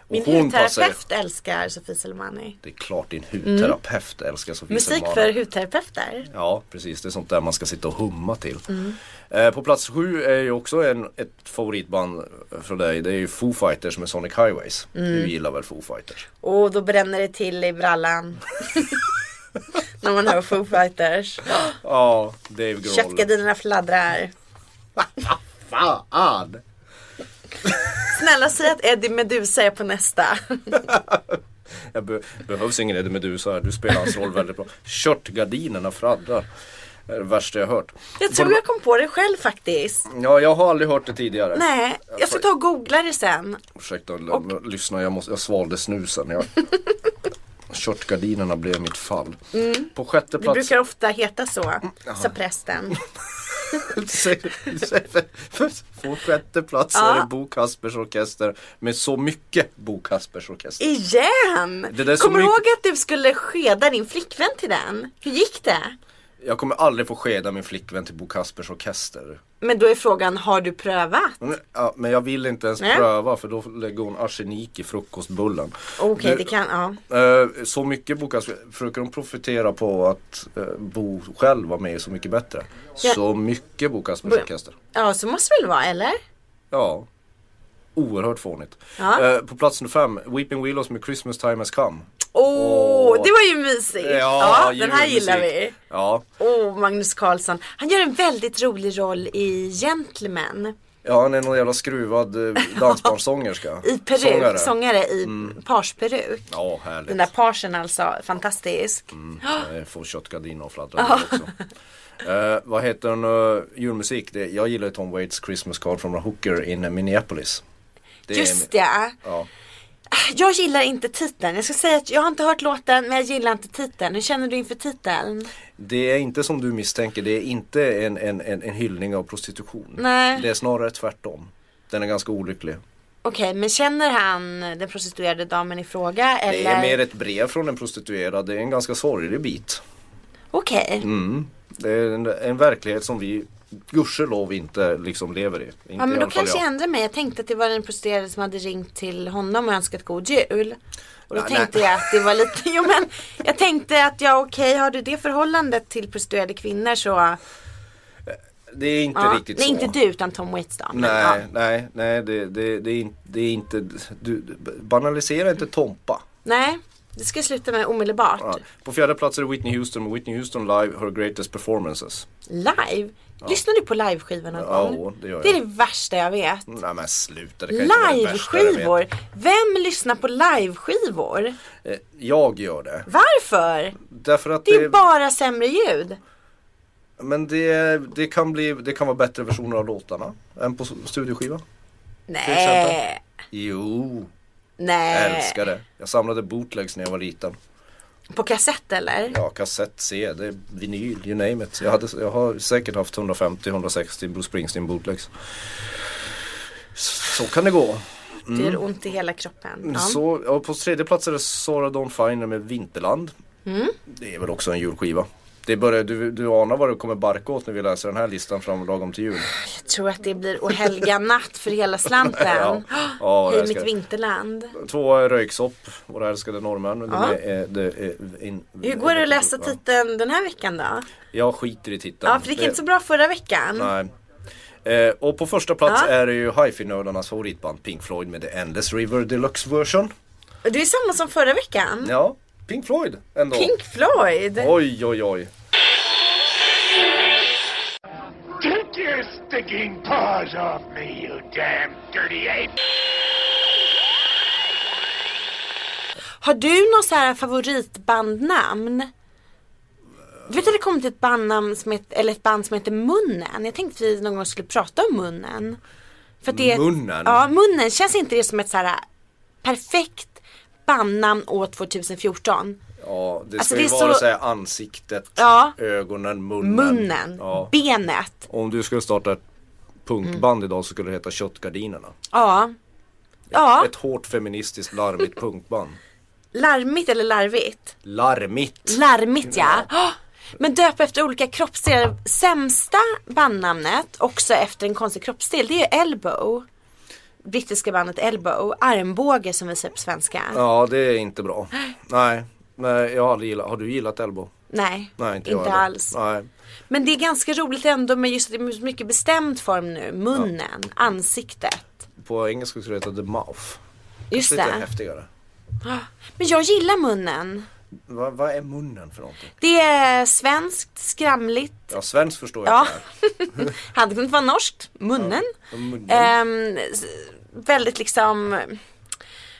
Speaker 3: Och
Speaker 2: Min
Speaker 3: passar-
Speaker 2: hudterapeut älskar Sofie Selmani.
Speaker 3: Det är klart din hudterapeut älskar Sofie
Speaker 2: Musik
Speaker 3: Selmani.
Speaker 2: för hudterapeuter.
Speaker 3: Ja, precis. Det är sånt där man ska sitta och humma till.
Speaker 2: Mm.
Speaker 3: Eh, på plats sju är ju också en, ett favoritband från dig. Det är ju Foo Fighters med Sonic Highways.
Speaker 2: Mm.
Speaker 3: Du gillar väl Foo Fighters?
Speaker 2: Och då bränner det till i
Speaker 3: [laughs]
Speaker 2: brallan. När man hör Foo Fighters.
Speaker 3: Ja, Dave Grohl. [laughs]
Speaker 2: Köttgardinerna fladdrar.
Speaker 3: Fan!
Speaker 2: Snälla säg att Eddie Meduza är på nästa.
Speaker 3: Jag be- behövs ingen Eddie Meduza här. Du spelar hans roll väldigt bra. Körtgardinerna fladdrar. Det är det värsta jag hört.
Speaker 2: Jag tror jag kom på det själv faktiskt.
Speaker 3: Ja, jag har aldrig hört det tidigare.
Speaker 2: Nej, jag ska ta och googla det sen.
Speaker 3: Ursäkta, l- lyssna jag, måste, jag svalde
Speaker 2: [laughs]
Speaker 3: snusen. Jag... Körtgardinerna blev mitt fall. På sjätte
Speaker 2: Det Mm.
Speaker 3: plats. [laughs] Mm,
Speaker 2: brukar ofta heta så, sa prästen.
Speaker 3: På sjätte plats
Speaker 2: Ja.
Speaker 3: är det Bo Kaspers Orkester med Så mycket Bo Kaspers Orkester.
Speaker 2: Igen!
Speaker 3: Det där är så
Speaker 2: Kommer du
Speaker 3: mycket-
Speaker 2: ihåg att du skulle skeda din flickvän till den? Hur gick det?
Speaker 3: Jag kommer aldrig få skeda min flickvän till Bo Kaspers Orkester.
Speaker 2: Men då är frågan, har du prövat?
Speaker 3: Men, ja, men jag vill inte ens
Speaker 2: Nej.
Speaker 3: pröva för då lägger hon arsenik i frukostbullen.
Speaker 2: Okej,
Speaker 3: Du-
Speaker 2: det kan, ja.
Speaker 3: Eh, så mycket Bo Kaspers, försöker de profitera på att eh, Bo själv var med i Så mycket bättre?
Speaker 2: Ja.
Speaker 3: Så mycket Bo Kaspers
Speaker 2: Bo-
Speaker 3: Orkester.
Speaker 2: Ja, så måste det väl vara, eller?
Speaker 3: Ja. Oerhört fånigt.
Speaker 2: Ja.
Speaker 3: Eh, på plats nummer fem, Weeping Willows med Christmas time has come.
Speaker 2: Åh,
Speaker 3: Åh.
Speaker 2: det var ju mysigt! Ja, den här
Speaker 3: julmusik.
Speaker 2: gillar vi.
Speaker 3: Ja.
Speaker 2: Åh, Magnus Carlsson. Han gör en väldigt rolig roll i Gentlemen.
Speaker 3: ja, han är någon jävla
Speaker 2: [laughs]
Speaker 3: skruvad eh, dansbandssångerska.
Speaker 2: I peruk, sångare,
Speaker 3: Sångare. Mm.
Speaker 2: i parsperuk.
Speaker 3: Ja, härligt.
Speaker 2: Den där parsen alltså, fantastisk.
Speaker 3: Eh, Får köttgardiner och fladdra där också. Eh, vad heter den? eh, julmusik? Det, jag gillar ju Tom Waits Christmas card from a hooker in Minneapolis. Det är-
Speaker 2: Just det.
Speaker 3: Ja.
Speaker 2: Jag gillar inte titeln. Jag ska säga att jag har inte hört låten men jag gillar inte titeln. Hur känner du inför titeln?
Speaker 3: Det är inte som du misstänker, det är inte en, en, en, en hyllning av prostitution.
Speaker 2: Nej.
Speaker 3: Det är snarare tvärtom. Den är ganska olycklig.
Speaker 2: Okej, men känner han den prostituerade damen i fråga eller?
Speaker 3: Det är mer ett brev från en prostituerad, det är en ganska sorglig bit. Mm.
Speaker 2: Okej.
Speaker 3: Det är en, en verklighet som vi gudskelov inte liksom lever i. Inte
Speaker 2: Ja
Speaker 3: i
Speaker 2: men då
Speaker 3: alla fall
Speaker 2: kanske jag
Speaker 3: jag.
Speaker 2: ändrar mig. Jag tänkte att det var den prostituerade som hade ringt till honom och önskat god jul. Och då
Speaker 3: Nej,
Speaker 2: tänkte
Speaker 3: nej.
Speaker 2: jag att det var lite, [laughs] jo men jag tänkte att ja okej har du det förhållandet till prostituerade kvinnor så
Speaker 3: det är inte
Speaker 2: Ja.
Speaker 3: riktigt
Speaker 2: Nej
Speaker 3: så.
Speaker 2: inte du utan Tom Waits då. Men,
Speaker 3: Nej,
Speaker 2: ja.
Speaker 3: nej, nej det, det, det, är in- det är inte, du, banalisera inte Tompa.
Speaker 2: nej. Det ska jag sluta med omedelbart.
Speaker 3: Ja. På fjärde plats är det Whitney Houston med Whitney Houston Live, Her Greatest Performances.
Speaker 2: Live? Lyssnar du på liveskivan någon
Speaker 3: Ja,
Speaker 2: gång?
Speaker 3: det gör
Speaker 2: Det är
Speaker 3: jag.
Speaker 2: det värsta jag vet.
Speaker 3: Nej men sluta, det kan inte vara det värsta jag vet.
Speaker 2: Liveskivor? Vem lyssnar på liveskivor?
Speaker 3: Eh, Jag gör det.
Speaker 2: Varför?
Speaker 3: Därför att
Speaker 2: Det är ju
Speaker 3: det,
Speaker 2: bara sämre ljud.
Speaker 3: men det, det, kan bli, det kan vara bättre versioner av låtarna än på studioskiva.
Speaker 2: Nej,
Speaker 3: exempel. Jo, jag
Speaker 2: nej.
Speaker 3: älskar det. Jag samlade bootlegs när jag var liten.
Speaker 2: På kassett eller?
Speaker 3: Ja, kassett, CD, vinyl, you name it. Jag, hade, jag har säkert haft 150-160 Bruce Springsteen bootlegs. Så kan det gå.
Speaker 2: Det gör ont i hela kroppen. Ja.
Speaker 3: Mm. Så, ja, på tredje plats är det Sara Dawn Finer med Vinterland.
Speaker 2: Mm.
Speaker 3: Det är väl också en julskiva. Det börjar, du, du anar vad det kommer barka åt när vi läser den här listan fram lagom till jul.
Speaker 2: Jag tror att det blir och helga natt för hela
Speaker 3: [laughs] Ja.
Speaker 2: slanten.
Speaker 3: Ja,
Speaker 2: Hej mitt
Speaker 3: jag älskar det.
Speaker 2: vinterland.
Speaker 3: Två är Röyksopp, våra älskade norrmän. Men
Speaker 2: Ja.
Speaker 3: de är, eh, det är in,
Speaker 2: Hur går det att läsa
Speaker 3: Ja.
Speaker 2: titeln den här veckan då?
Speaker 3: Jag skiter i titeln.
Speaker 2: Ja, för det gick inte så bra förra veckan.
Speaker 3: Nej. Eh, och på första plats
Speaker 2: Mm. Ja.
Speaker 3: är det ju hifi-nördarnas favoritband Pink Floyd med The Endless River Deluxe
Speaker 2: Mm.
Speaker 3: Version.
Speaker 2: Och Det är samma som förra veckan.
Speaker 3: Ja, Pink Floyd ändå.
Speaker 2: Pink Floyd.
Speaker 3: Oj, oj, oj.
Speaker 4: Take your sticking paws off me, you damn dirty ape!
Speaker 2: Har du någon så här favoritbandnamn? Du vet att det kommit ett bandnamn som heter, eller ett band som heter Munnen. Jag tänkte att vi någon gång skulle prata om munnen. För att det är ett-
Speaker 3: Munnen?
Speaker 2: Ja, munnen. Känns inte det som ett så här perfekt bandnamn år 2014?
Speaker 3: Ja, det
Speaker 2: Alltså,
Speaker 3: ska
Speaker 2: det
Speaker 3: ju
Speaker 2: är
Speaker 3: vara
Speaker 2: så-
Speaker 3: så... här ansiktet,
Speaker 2: Ja.
Speaker 3: ögonen, munnen.
Speaker 2: Munnen,
Speaker 3: Ja.
Speaker 2: benet.
Speaker 3: Om du skulle starta ett
Speaker 2: Mm.
Speaker 3: punkband idag så skulle det heta Köttgardinerna.
Speaker 2: Ja. Ja,
Speaker 3: Ett hårt feministiskt larmigt punkband.
Speaker 2: larmigt eller larvigt?
Speaker 3: Larmigt!
Speaker 2: Larmigt [gasps] ja. Åh! Men döp efter olika kroppsdelar. Sämsta bandnamnet, också efter en konstig kroppsdel, det är ju Elbow. Brittiska bandet Elbow. Armbåge som vi säger på svenska.
Speaker 3: Ja, det är inte bra. Nej, nej jag har aldrig gillat. Har du gillat Elbow?
Speaker 2: Nej,
Speaker 3: Nej, inte, jag
Speaker 2: inte
Speaker 3: heller.
Speaker 2: alls.
Speaker 3: Nej.
Speaker 2: Men det är ganska roligt ändå med just det är mycket bestämd form nu. Munnen, ansiktet.
Speaker 3: På engelska skulle det heta The Mouth.
Speaker 2: Just
Speaker 3: Lite
Speaker 2: det.
Speaker 3: häftigare.
Speaker 2: Men jag gillar munnen.
Speaker 3: Vad vad är munnen för någonting?
Speaker 2: Det är svenskt, skramligt.
Speaker 3: Ja, svenskt förstår jag
Speaker 2: Ja.
Speaker 3: inte.
Speaker 2: [laughs] Hade kunnat vara norskt. Munnen.
Speaker 3: Ja, munnen.
Speaker 2: Ehm, s- väldigt liksom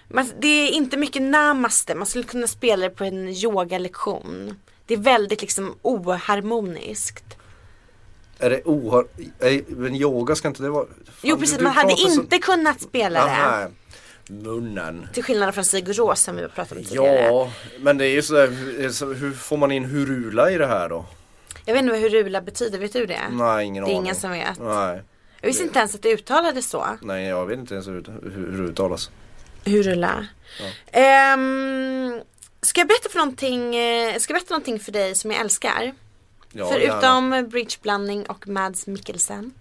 Speaker 2: man, Det är inte mycket namaste. Man skulle kunna spela det på en yogalektion. Det är väldigt liksom oharmoniskt.
Speaker 3: Är det ohör... Nej, Men yoga ska inte det vara... Fan,
Speaker 2: jo precis, man hade
Speaker 3: pratar så-
Speaker 2: inte kunnat spela det.
Speaker 3: Aha. Munnen.
Speaker 2: Till skillnad från Sigur Rós som vi har pratat om tidigare.
Speaker 3: Ja, men det är ju sådär, hur- så hur får man in hurula i det här då?
Speaker 2: Jag vet inte vad hurula betyder, vet du det?
Speaker 3: Nej, ingen
Speaker 2: Det är
Speaker 3: aning.
Speaker 2: ingen som vet.
Speaker 3: Nej,
Speaker 2: Jag visste inte ens att det uttalades så.
Speaker 3: nej jag vet inte ens hur, hur, hur det uttalas.
Speaker 2: Hurula. Ehm, ska jag berätta för någonting, eh, ska jag berätta någonting för dig som jag älskar?
Speaker 3: Ja, gärna. Mhm.
Speaker 2: Förutom bridgeblandning och Mads Mikkelsen.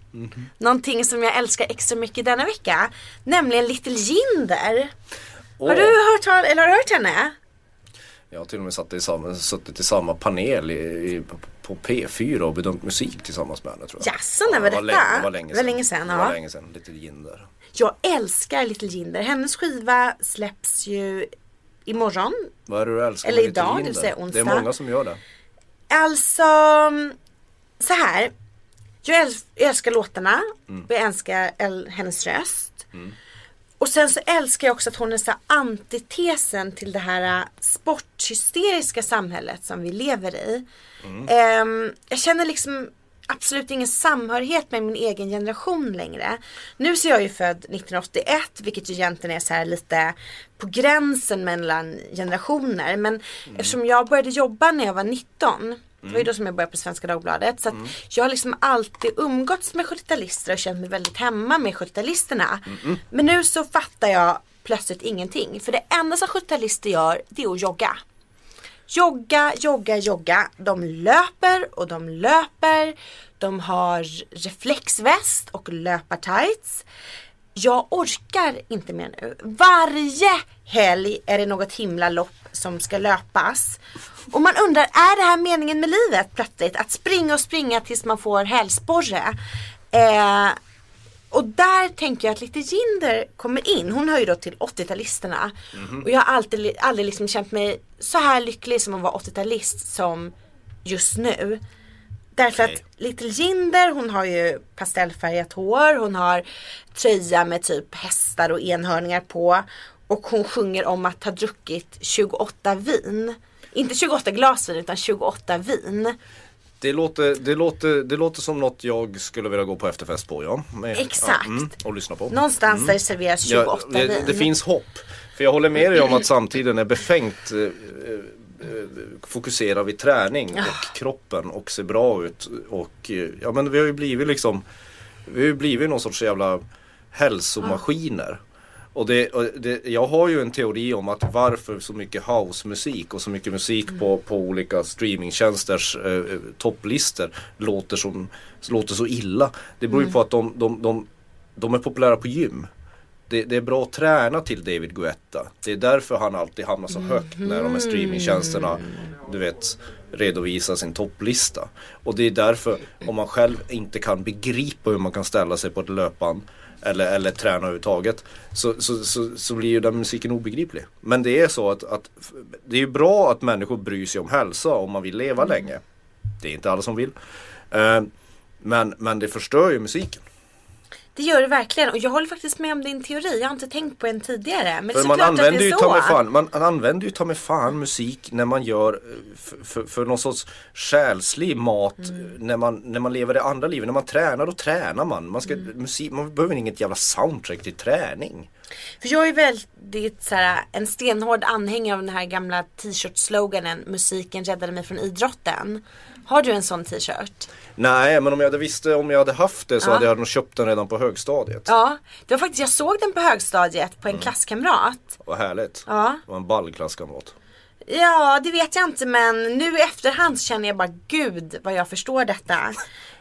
Speaker 2: Någonting som jag älskar extra mycket denna vecka. Nämligen Little Jinder.
Speaker 3: Åh,
Speaker 2: Har du hört, tal- eller har du hört henne?
Speaker 3: Jag har till och med satt i samma, suttit i samma panel i, i, på- på P4 och bedömt musik tillsammans med henne tror jag.
Speaker 2: Jaså, när var
Speaker 3: det var
Speaker 2: detta?
Speaker 3: länge, det var länge
Speaker 2: Det
Speaker 3: sedan.
Speaker 2: var länge sedan,
Speaker 3: Det var
Speaker 2: ja.
Speaker 3: länge sedan, lite ginder.
Speaker 2: Jag älskar Little Jinder. Hennes skiva släpps ju imorgon.
Speaker 3: Vad är det du älskar
Speaker 2: Eller
Speaker 3: med lite
Speaker 2: idag, det vill
Speaker 3: ginder?
Speaker 2: säga
Speaker 3: Det är
Speaker 2: onsdag.
Speaker 3: många som gör det.
Speaker 2: Alltså, så här. Jag äls- jag älskar låtarna. Jag älskar el- hennes röst. Och sen så älskar jag också att hon är så här antitesen till det här äh, sporthysteriska samhället som vi lever i. Ehm, jag känner liksom absolut ingen samhörighet med min egen generation längre. Nu så är jag ju född 1981 vilket ju egentligen är så här lite på gränsen mellan generationer. Men eftersom jag började jobba när jag var 19 det var ju då som jag började på Svenska Dagbladet. Så att jag har liksom alltid umgåtts med 70-talister och känt mig väldigt hemma med 70-talisterna. Men nu så fattar jag plötsligt ingenting. För det enda som 70-talister gör det är att jogga. Jogga, jogga, jogga. De löper och de löper. De har reflexväst och löpartights. Jag orkar inte mer nu. Varje helg är det något himla lopp som ska löpas. Och man undrar, är det här meningen med livet plötsligt? Att springa och springa tills man får hälsporre. Eh, och där tänker jag att lite Jinder kommer in. Hon hör ju då till 80-talisterna.
Speaker 3: Mhm.
Speaker 2: Och jag har alltid, aldrig liksom känt mig så här lycklig som att vara 80-talist som just nu. Därför
Speaker 3: Okej.
Speaker 2: att Little Jinder hon har ju pastellfärgat hår, hon har tröja med typ hästar och enhörningar på. Och hon sjunger om att ha druckit 28 vin. Inte 28 glas vin utan 28 vin.
Speaker 3: Det låter, det, låter, det låter som något jag skulle vilja gå på efterfest på ja. Men-
Speaker 2: Exakt.
Speaker 3: Ja, mm. och lyssna på.
Speaker 2: Någonstans där det serveras 28
Speaker 3: Mm. Ja, det,
Speaker 2: vin.
Speaker 3: det finns hopp. För jag håller med dig om att samtiden är befängt eh, eh, eh, fokuserad vid träning och kroppen och ser bra ut. Och eh, ja men vi har ju blivit liksom Vi har ju blivit någon sorts jävla hälsomaskiner. Och, det, och det, jag har ju en teori om att varför så mycket housemusik och så mycket musik på, på olika streamingtjänsters eh, topplistor låter, som, låter så illa. Det beror ju på att de, de, de, de är populära på gym. Det, det är bra att träna till David Guetta. Det är därför han alltid hamnar så högt när de här streamingtjänsterna du vet, redovisar sin topplista. Och det är därför om man själv inte kan begripa hur man kan ställa sig på ett löpband eller, eller träna överhuvudtaget så, så, så, så blir ju den musiken obegriplig. Men det är så att, att f- det är ju bra att människor bryr sig om hälsa om man vill leva länge. Det är inte alla som vill. Eh, men, men det förstör ju musiken.
Speaker 2: Det gör det verkligen och jag håller faktiskt med om din teori. Jag har inte tänkt på den tidigare. Men det är
Speaker 3: För man
Speaker 2: såklart att
Speaker 3: använder,
Speaker 2: det
Speaker 3: ju
Speaker 2: är
Speaker 3: ta
Speaker 2: så.
Speaker 3: mig fan, man använder ju ta mig fan musik när man gör eh, f- för, för någon sorts själslig mat eh,
Speaker 2: Mm.
Speaker 3: när, man, när man lever det andra livet. När man tränar då tränar man. Man, ska,
Speaker 2: Mm.
Speaker 3: musik, man behöver inget jävla soundtrack till träning.
Speaker 2: För jag är väldigt så här, en stenhård anhängare av den här gamla t-shirt-sloganen Musiken räddade mig från idrotten. Har du en sån t-shirt?
Speaker 3: Nej men om jag hade visste om jag hade haft det så
Speaker 2: Ja.
Speaker 3: hade jag nog köpt den redan på högstadiet.
Speaker 2: Ja, det var faktiskt, jag såg den på högstadiet
Speaker 3: Mm.
Speaker 2: på en klasskamrat.
Speaker 3: Vad härligt.
Speaker 2: Ja.
Speaker 3: Det var en ball klasskamrat.
Speaker 2: Ja, det vet jag inte men nu i efterhand så känner jag bara gud vad jag förstår detta.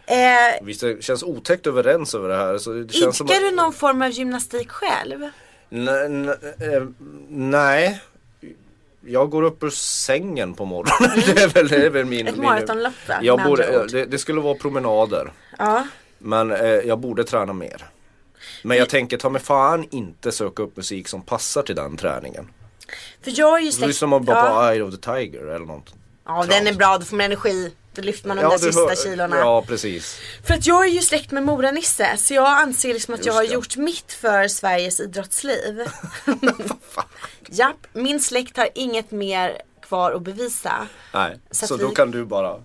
Speaker 2: Eh,
Speaker 3: Visst [laughs] det känns otäckt överens över det här. Så det känns som
Speaker 2: idkar
Speaker 3: att-
Speaker 2: du någon form av gymnastik själv?
Speaker 3: Nej, nej, eh, nej. Jag går upp ur sängen på morgonen. [laughs] det är väl, det är väl min,
Speaker 2: Ett
Speaker 3: min,
Speaker 2: maratonlopp va,
Speaker 3: jag
Speaker 2: med
Speaker 3: borde,
Speaker 2: andra
Speaker 3: eh,
Speaker 2: ord.
Speaker 3: det, det skulle vara promenader.
Speaker 2: Ja.
Speaker 3: Men eh, jag borde träna mer. Men jag tänker ta mig fan inte söka upp musik som passar till den träningen.
Speaker 2: För jag är ju
Speaker 3: Det är
Speaker 2: släkt...
Speaker 3: som att bara
Speaker 2: ja.
Speaker 3: på Eye of the Tiger eller något.
Speaker 2: ja, den är bra, då får man energi. Då lyfter man de där
Speaker 3: du
Speaker 2: sista
Speaker 3: hör-
Speaker 2: kilorna.
Speaker 3: Ja precis. [laughs]
Speaker 2: För att jag är ju släkt med Mora-Nisse så jag anser liksom att jag
Speaker 3: Just
Speaker 2: har
Speaker 3: det.
Speaker 2: gjort mitt för Sveriges
Speaker 3: [laughs]
Speaker 2: idrottsliv. Japp, min släkt har inget mer kvar att bevisa.
Speaker 3: Nej.
Speaker 2: Så
Speaker 3: Så,
Speaker 2: att
Speaker 3: då
Speaker 2: vi-
Speaker 3: kan du bara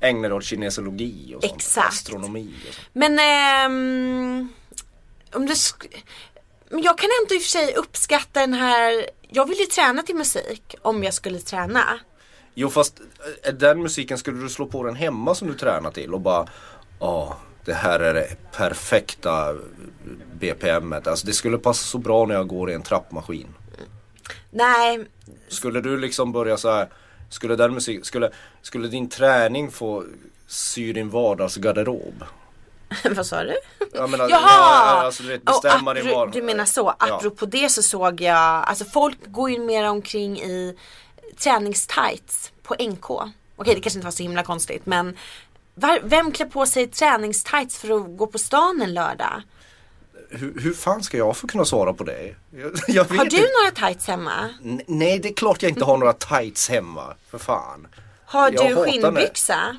Speaker 3: ägna dig åt kinesologi och sånt.
Speaker 2: Exakt.
Speaker 3: Astronomi och sånt.
Speaker 2: Men ehm, om du sk- Men jag kan ändå i och för sig uppskatta den här Jag vill ju träna till musik om jag skulle träna.
Speaker 3: Jo fast eh, den musiken skulle du slå på den hemma som du tränar till och bara Ja det här är det perfekta eh, BPMet. Alltså det skulle passa så bra när jag går i en trappmaskin.
Speaker 2: Nej,
Speaker 3: Skulle du liksom börja så här Skulle den musik, skulle, skulle din träning få sy din vardagsgarderob?
Speaker 2: [laughs] vad sa du?
Speaker 3: Jag menar,
Speaker 2: Jaha!
Speaker 3: ja, alltså du vet bestämma
Speaker 2: och
Speaker 3: din
Speaker 2: apro-
Speaker 3: vardag.
Speaker 2: du menar så, apropå det så såg jag, alltså folk går ju mer omkring i träningstights på NK. Okej det kanske inte var så himla konstigt men var, vem klär på sig träningstights för att gå på stan en lördag?
Speaker 3: Ja. Hur, hur fan ska jag få kunna svara på det? Jag, [laughs] jag vet
Speaker 2: Har du
Speaker 3: inte.
Speaker 2: några tights hemma?
Speaker 3: N- Nej det är klart jag inte har några tights hemma. För fan.
Speaker 2: Har
Speaker 3: Jag
Speaker 2: du
Speaker 3: hatar det.
Speaker 2: skinnbyxa?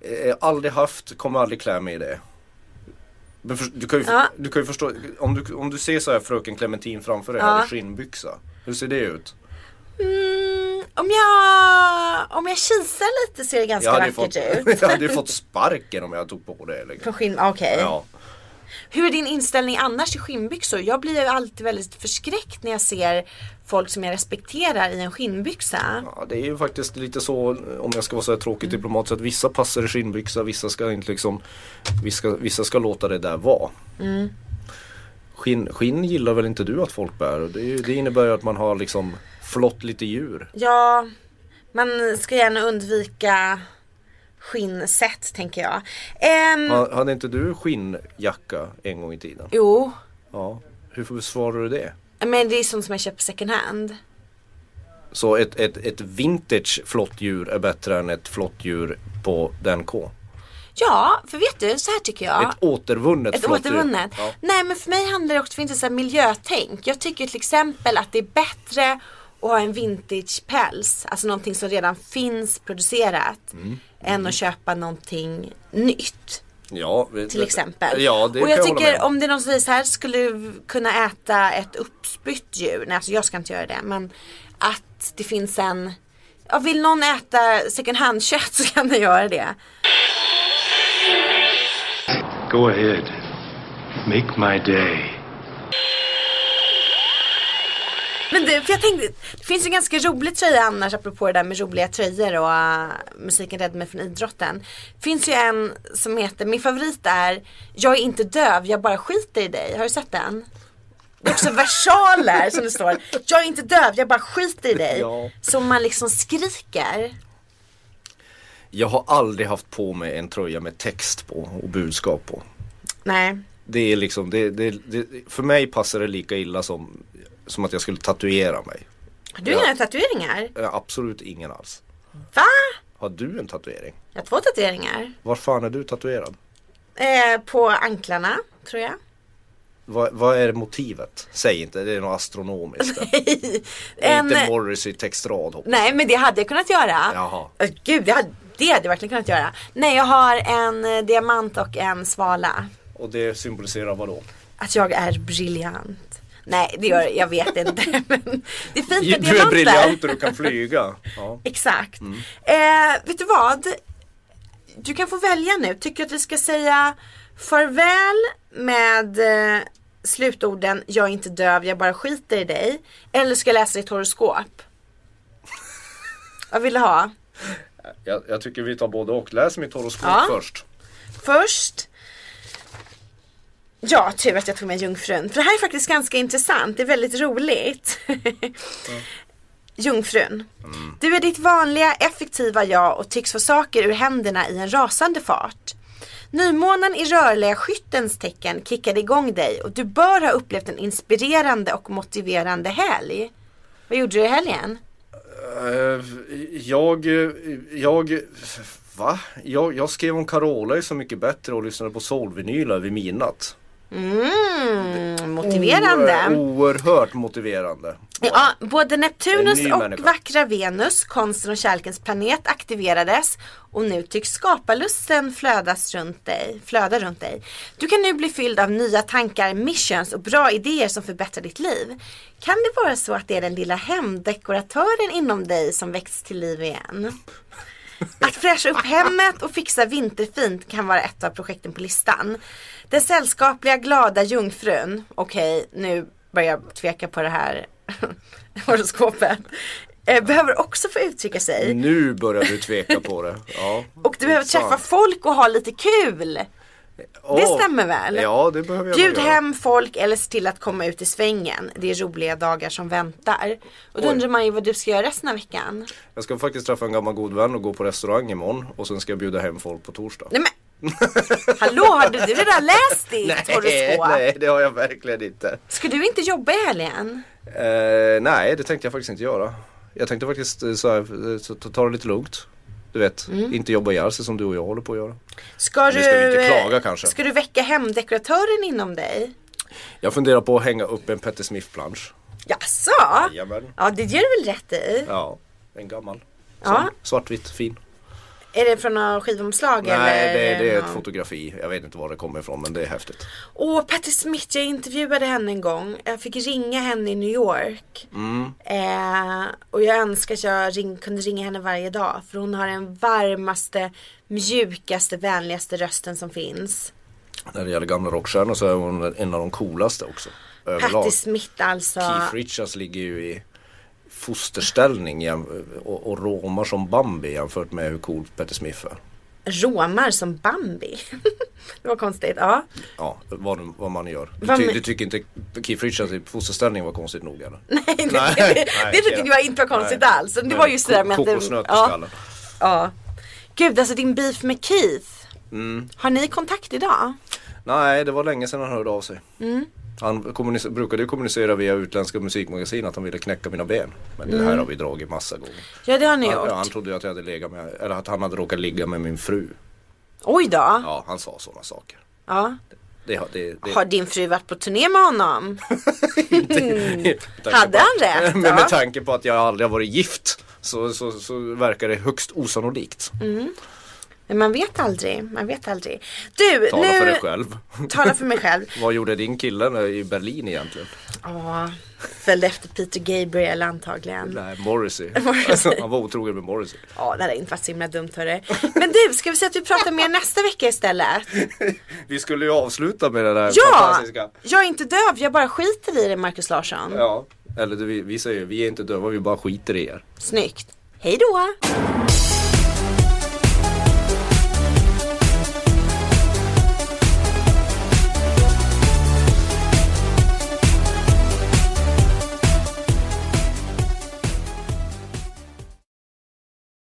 Speaker 3: Eh, aldrig haft, kommer aldrig klä mig i det. Men för, du, kan ju,
Speaker 2: Ja.
Speaker 3: du kan ju förstå, om du, om du ser så här fröken Clementin framför dig här i skinnbyxa. Hur ser det ut?
Speaker 2: Mm, om jag, om jag kisar lite ser det ganska
Speaker 3: Jag hade, ju
Speaker 2: vackert
Speaker 3: fått, [laughs]
Speaker 2: ut.
Speaker 3: jag hade ju fått sparken om jag tog på det. Liksom.
Speaker 2: På skinn, okej.
Speaker 3: Ja.
Speaker 2: Hur är din inställning annars till skinnbyxor? Jag blir ju alltid väldigt förskräckt när jag ser folk som jag respekterar i en skinnbyxa.
Speaker 3: ja, det är ju faktiskt lite så, om jag ska vara så här tråkig
Speaker 2: Mm.
Speaker 3: diplomat, så att vissa passar i skinnbyxa, vissa ska inte liksom, vissa, vissa ska låta det där vara.
Speaker 2: Mm.
Speaker 3: Skinn, skinn gillar väl inte du att folk bär? Och Det, är ju- det innebär ju att man har liksom flott lite djur.
Speaker 2: Ja, man ska gärna undvika skinnset tänker jag. Ehm,
Speaker 3: Ha- Hade inte du skinnjacka en gång i tiden?
Speaker 2: Jo,
Speaker 3: Ja. Hur besvarar du det?
Speaker 2: Men det är sånt som jag köper second hand.
Speaker 3: Så ett, ett, ett vintage flottdjur är bättre än ett flottdjur på den K?
Speaker 2: Ja, för vet du, så här tycker jag.
Speaker 3: Ett återvunnet
Speaker 2: Ett
Speaker 3: flottdjur.
Speaker 2: återvunnet.
Speaker 3: Ja.
Speaker 2: Nej men för mig handlar det också, finns det så här miljötänk. Jag tycker till exempel att det är bättre att ha en vintagepäls, alltså någonting som redan finns producerat,
Speaker 3: Mm.
Speaker 2: än att köpa någonting nytt.
Speaker 3: Ja, vi-
Speaker 2: Till exempel.
Speaker 3: Ja, det
Speaker 2: och jag
Speaker 3: kan jag hålla med
Speaker 2: tycker om det är någon som säger så här, skulle du kunna äta ett uppspytt djur? Nej alltså jag ska inte göra det men att det finns en, ja, vill någon äta second hand kött så kan den göra det.
Speaker 5: Go ahead. Make my day.
Speaker 2: Men du, för jag tänkte, det finns ju en ganska rolig tröja annars apropå det där med roliga tröjor och äh, musiken räddade mig från idrotten. finns ju en som heter, min favorit är Jag är inte döv, jag bara skiter i dig. Har du sett den? Det är också versaler som det står. Jag är inte döv, jag bara skiter i dig.
Speaker 3: Ja.
Speaker 2: Som man liksom skriker.
Speaker 3: Jag har aldrig haft på mig en tröja med text på och budskap på.
Speaker 2: Nej.
Speaker 3: Det är liksom, det, det, det, för mig passar det lika illa som, som att jag skulle tatuera mig.
Speaker 2: Har du
Speaker 3: Ja.
Speaker 2: inga tatueringar?
Speaker 3: Jag har Absolut ingen alls.
Speaker 2: Va?
Speaker 3: Har du en tatuering?
Speaker 2: Jag har två tatueringar.
Speaker 3: Var fan är du tatuerad?
Speaker 2: Eh, på anklarna, tror jag.
Speaker 3: Vad, vad är motivet? Säg inte, det är
Speaker 2: [laughs]
Speaker 3: något astronomiskt. där. Det är
Speaker 2: En,
Speaker 3: [laughs]
Speaker 2: eh,
Speaker 3: Inte Morrissey textrad hoppas jag.
Speaker 2: nej men det hade jag kunnat göra.
Speaker 3: Jaha.
Speaker 2: Åh, Gud, det hade, det hade jag verkligen kunnat göra. Nej, jag har en eh, diamant och en svala.
Speaker 3: Och det symboliserar vadå?
Speaker 2: Att jag är briljant. Nej, det gör jag vet inte. [laughs] Men det är fint med diamanter.
Speaker 3: Du är briljant
Speaker 2: [laughs]
Speaker 3: och du Mm. kan flyga. Ja.
Speaker 2: Exakt. Eh, vet du vad? Du kan få välja nu. Tycker du att vi ska säga farväl med eh, slutorden jag är inte döv, jag bara skiter i dig. Eller ska jag läsa ditt horoskop? Vad vill du ha?
Speaker 3: Jag, jag tycker vi tar både och. Läs mitt horoskop
Speaker 2: Ja.
Speaker 3: först.
Speaker 2: först. Ja, tur att jag tog med Jungfrun. För det här är faktiskt ganska intressant. Det är väldigt roligt. [laughs] Jungfrun. Du är ditt vanliga, effektiva jag och tycks få saker ur händerna i en rasande fart. Nymånen i rörliga skyttens tecken kickade igång dig och du bör ha upplevt en inspirerande och motiverande helg. Vad gjorde du i helgen?
Speaker 3: Eh, Jag, jag, va? Jag, jag skrev om Carola är så mycket bättre och lyssnade på soulvinyler vid midnatt.
Speaker 2: Mm, motiverande.
Speaker 3: O- Oerhört motiverande.
Speaker 2: Ja, både Neptunus
Speaker 3: En ny
Speaker 2: och
Speaker 3: människa.
Speaker 2: vackra Venus, konsten och kärlekens planet, aktiverades och nu tycks skaparlusten flödas runt dig, flöda runt dig. Du kan nu bli fylld av nya tankar, missions och bra idéer som förbättrar ditt liv. Kan det vara så att det är den lilla hemdekoratören inom dig som väcks till liv igen? Att fräscha upp hemmet och fixa vinterfint kan vara ett av projekten på listan. Den sällskapliga glada jungfrun, okej nu börjar jag tveka på det här [laughs] horoskopet, eh, behöver också få uttrycka sig.
Speaker 3: Nu börjar du tveka på det. Ja.
Speaker 2: Och du behöver träffa folk och ha lite kul. det stämmer väl?
Speaker 3: Ja, det behöver jag
Speaker 2: Bjud
Speaker 3: nog göra.
Speaker 2: hem folk eller se till att komma ut i svängen. Det är roliga dagar som väntar. Och då
Speaker 3: Oj.
Speaker 2: undrar man ju vad du ska göra resten av veckan.
Speaker 3: Jag ska faktiskt träffa en gammal god vän och gå på restaurang imorgon och sen ska jag bjuda hem folk på torsdag.
Speaker 2: Nej men, hallå har du, du redan läst ditt horoskop?
Speaker 3: [laughs] nej, det har jag verkligen inte.
Speaker 2: Ska du inte jobba i helgen?
Speaker 3: Eh, nej, det tänkte jag faktiskt inte göra. Jag tänkte faktiskt eh, så här, eh, så ta ta det lite lugnt. Du vet,
Speaker 2: Mm.
Speaker 3: inte jobba ihjäl sig som du och jag håller på att göra.
Speaker 2: Ska
Speaker 3: ska
Speaker 2: du, eh,
Speaker 3: vi inte klaga, kanske.
Speaker 2: Ska du väcka hemdekoratören inom dig?
Speaker 3: Jag funderar på att hänga upp en Patti Smith-plansch.
Speaker 2: Jaså?
Speaker 3: Jajamän.
Speaker 2: Ja det gör du väl rätt i?
Speaker 3: Ja, en gammal.
Speaker 2: Ja.
Speaker 3: Svartvitt, fin.
Speaker 2: Är det från några skivomslag eller?
Speaker 3: Nej, det, det är ett
Speaker 2: någon-
Speaker 3: fotografi. Jag vet inte var det kommer ifrån men det är häftigt.
Speaker 2: Åh, Patti Smith, jag intervjuade henne en gång. Jag fick ringa henne i New York.
Speaker 3: Mm.
Speaker 2: Eh, och jag önskar att jag ring, kunde ringa henne varje dag. För hon har den varmaste, mjukaste, vänligaste rösten som finns.
Speaker 3: När det gäller gamla rockstjärnor så är hon en av de coolaste också. Överlag.
Speaker 2: Patti Smith alltså.
Speaker 3: Keith Richards ligger ju i fosterställning jäm- och, och romar som Bambi jämfört med hur cool Patti Smith är.
Speaker 2: Romar som Bambi. [laughs] det var konstigt. Ja.
Speaker 3: Ja, vad, vad man gör. Du,
Speaker 2: Vad
Speaker 3: ty,
Speaker 2: men-
Speaker 3: du tycker inte Keith Richards i fosterställning var konstigt nog eller?
Speaker 2: [laughs] Nej, det,
Speaker 3: Nej,
Speaker 2: det, det,
Speaker 3: nej,
Speaker 2: det tyckte
Speaker 3: okej.
Speaker 2: jag inte var konstigt
Speaker 3: Nej.
Speaker 2: alls. Det var just det där med att...
Speaker 3: Kokosnöt
Speaker 2: det-
Speaker 3: i
Speaker 2: Ja,
Speaker 3: skallen.
Speaker 2: ja. Gud, alltså din beef med
Speaker 3: Mm.
Speaker 2: Keith. Har ni kontakt idag? Mm.
Speaker 3: Nej, det var länge sedan han hörde av sig. Han kommunic- brukade ju kommunicera via utländska musikmagasin att han ville knäcka mina ben. Men det här har vi dragit massa gånger.
Speaker 2: Mm. Ja det har ni
Speaker 3: Han, ja, han
Speaker 2: gjort.
Speaker 3: trodde ju att jag hade legat med, eller att han hade råkat ligga med min fru.
Speaker 2: Oj då.
Speaker 3: Ja, han sa sådana saker.
Speaker 2: Ja.
Speaker 3: Det, har- det, det,
Speaker 2: Har din fru varit på turné med honom?
Speaker 3: Med tanke
Speaker 2: Hade
Speaker 3: på-
Speaker 2: han rätt,
Speaker 3: Men
Speaker 2: ja?
Speaker 3: [laughs] med tanke på att jag aldrig har varit gift så, så, så verkar det högst osannolikt.
Speaker 2: Men man vet aldrig. Man vet aldrig. Du,
Speaker 3: Tala
Speaker 2: nu...
Speaker 3: för dig själv. [laughs]
Speaker 2: Tala för mig själv. [laughs]
Speaker 3: Vad gjorde din kille när- i Berlin egentligen?
Speaker 2: Ja, följde efter Peter Gabriel antagligen.
Speaker 3: Nej, Morrissey.
Speaker 2: [laughs]
Speaker 3: Alltså,
Speaker 2: Morrissey.
Speaker 3: Han var otrogen med Morrissey.
Speaker 2: Ja, det hade inte varit så himla dumt hörru. Men du, ska vi säga att vi pratar
Speaker 3: [laughs]
Speaker 2: mer nästa vecka istället?
Speaker 3: Vi skulle ju avsluta med det där
Speaker 2: Ja!
Speaker 3: fantastiska.
Speaker 2: Jag är inte döv, jag bara skiter i det Marcus Larsson.
Speaker 3: Ja. Eller du, vi, vi säger ju, vi är inte döva, vi bara skiter i er.
Speaker 2: Snyggt. Hej då!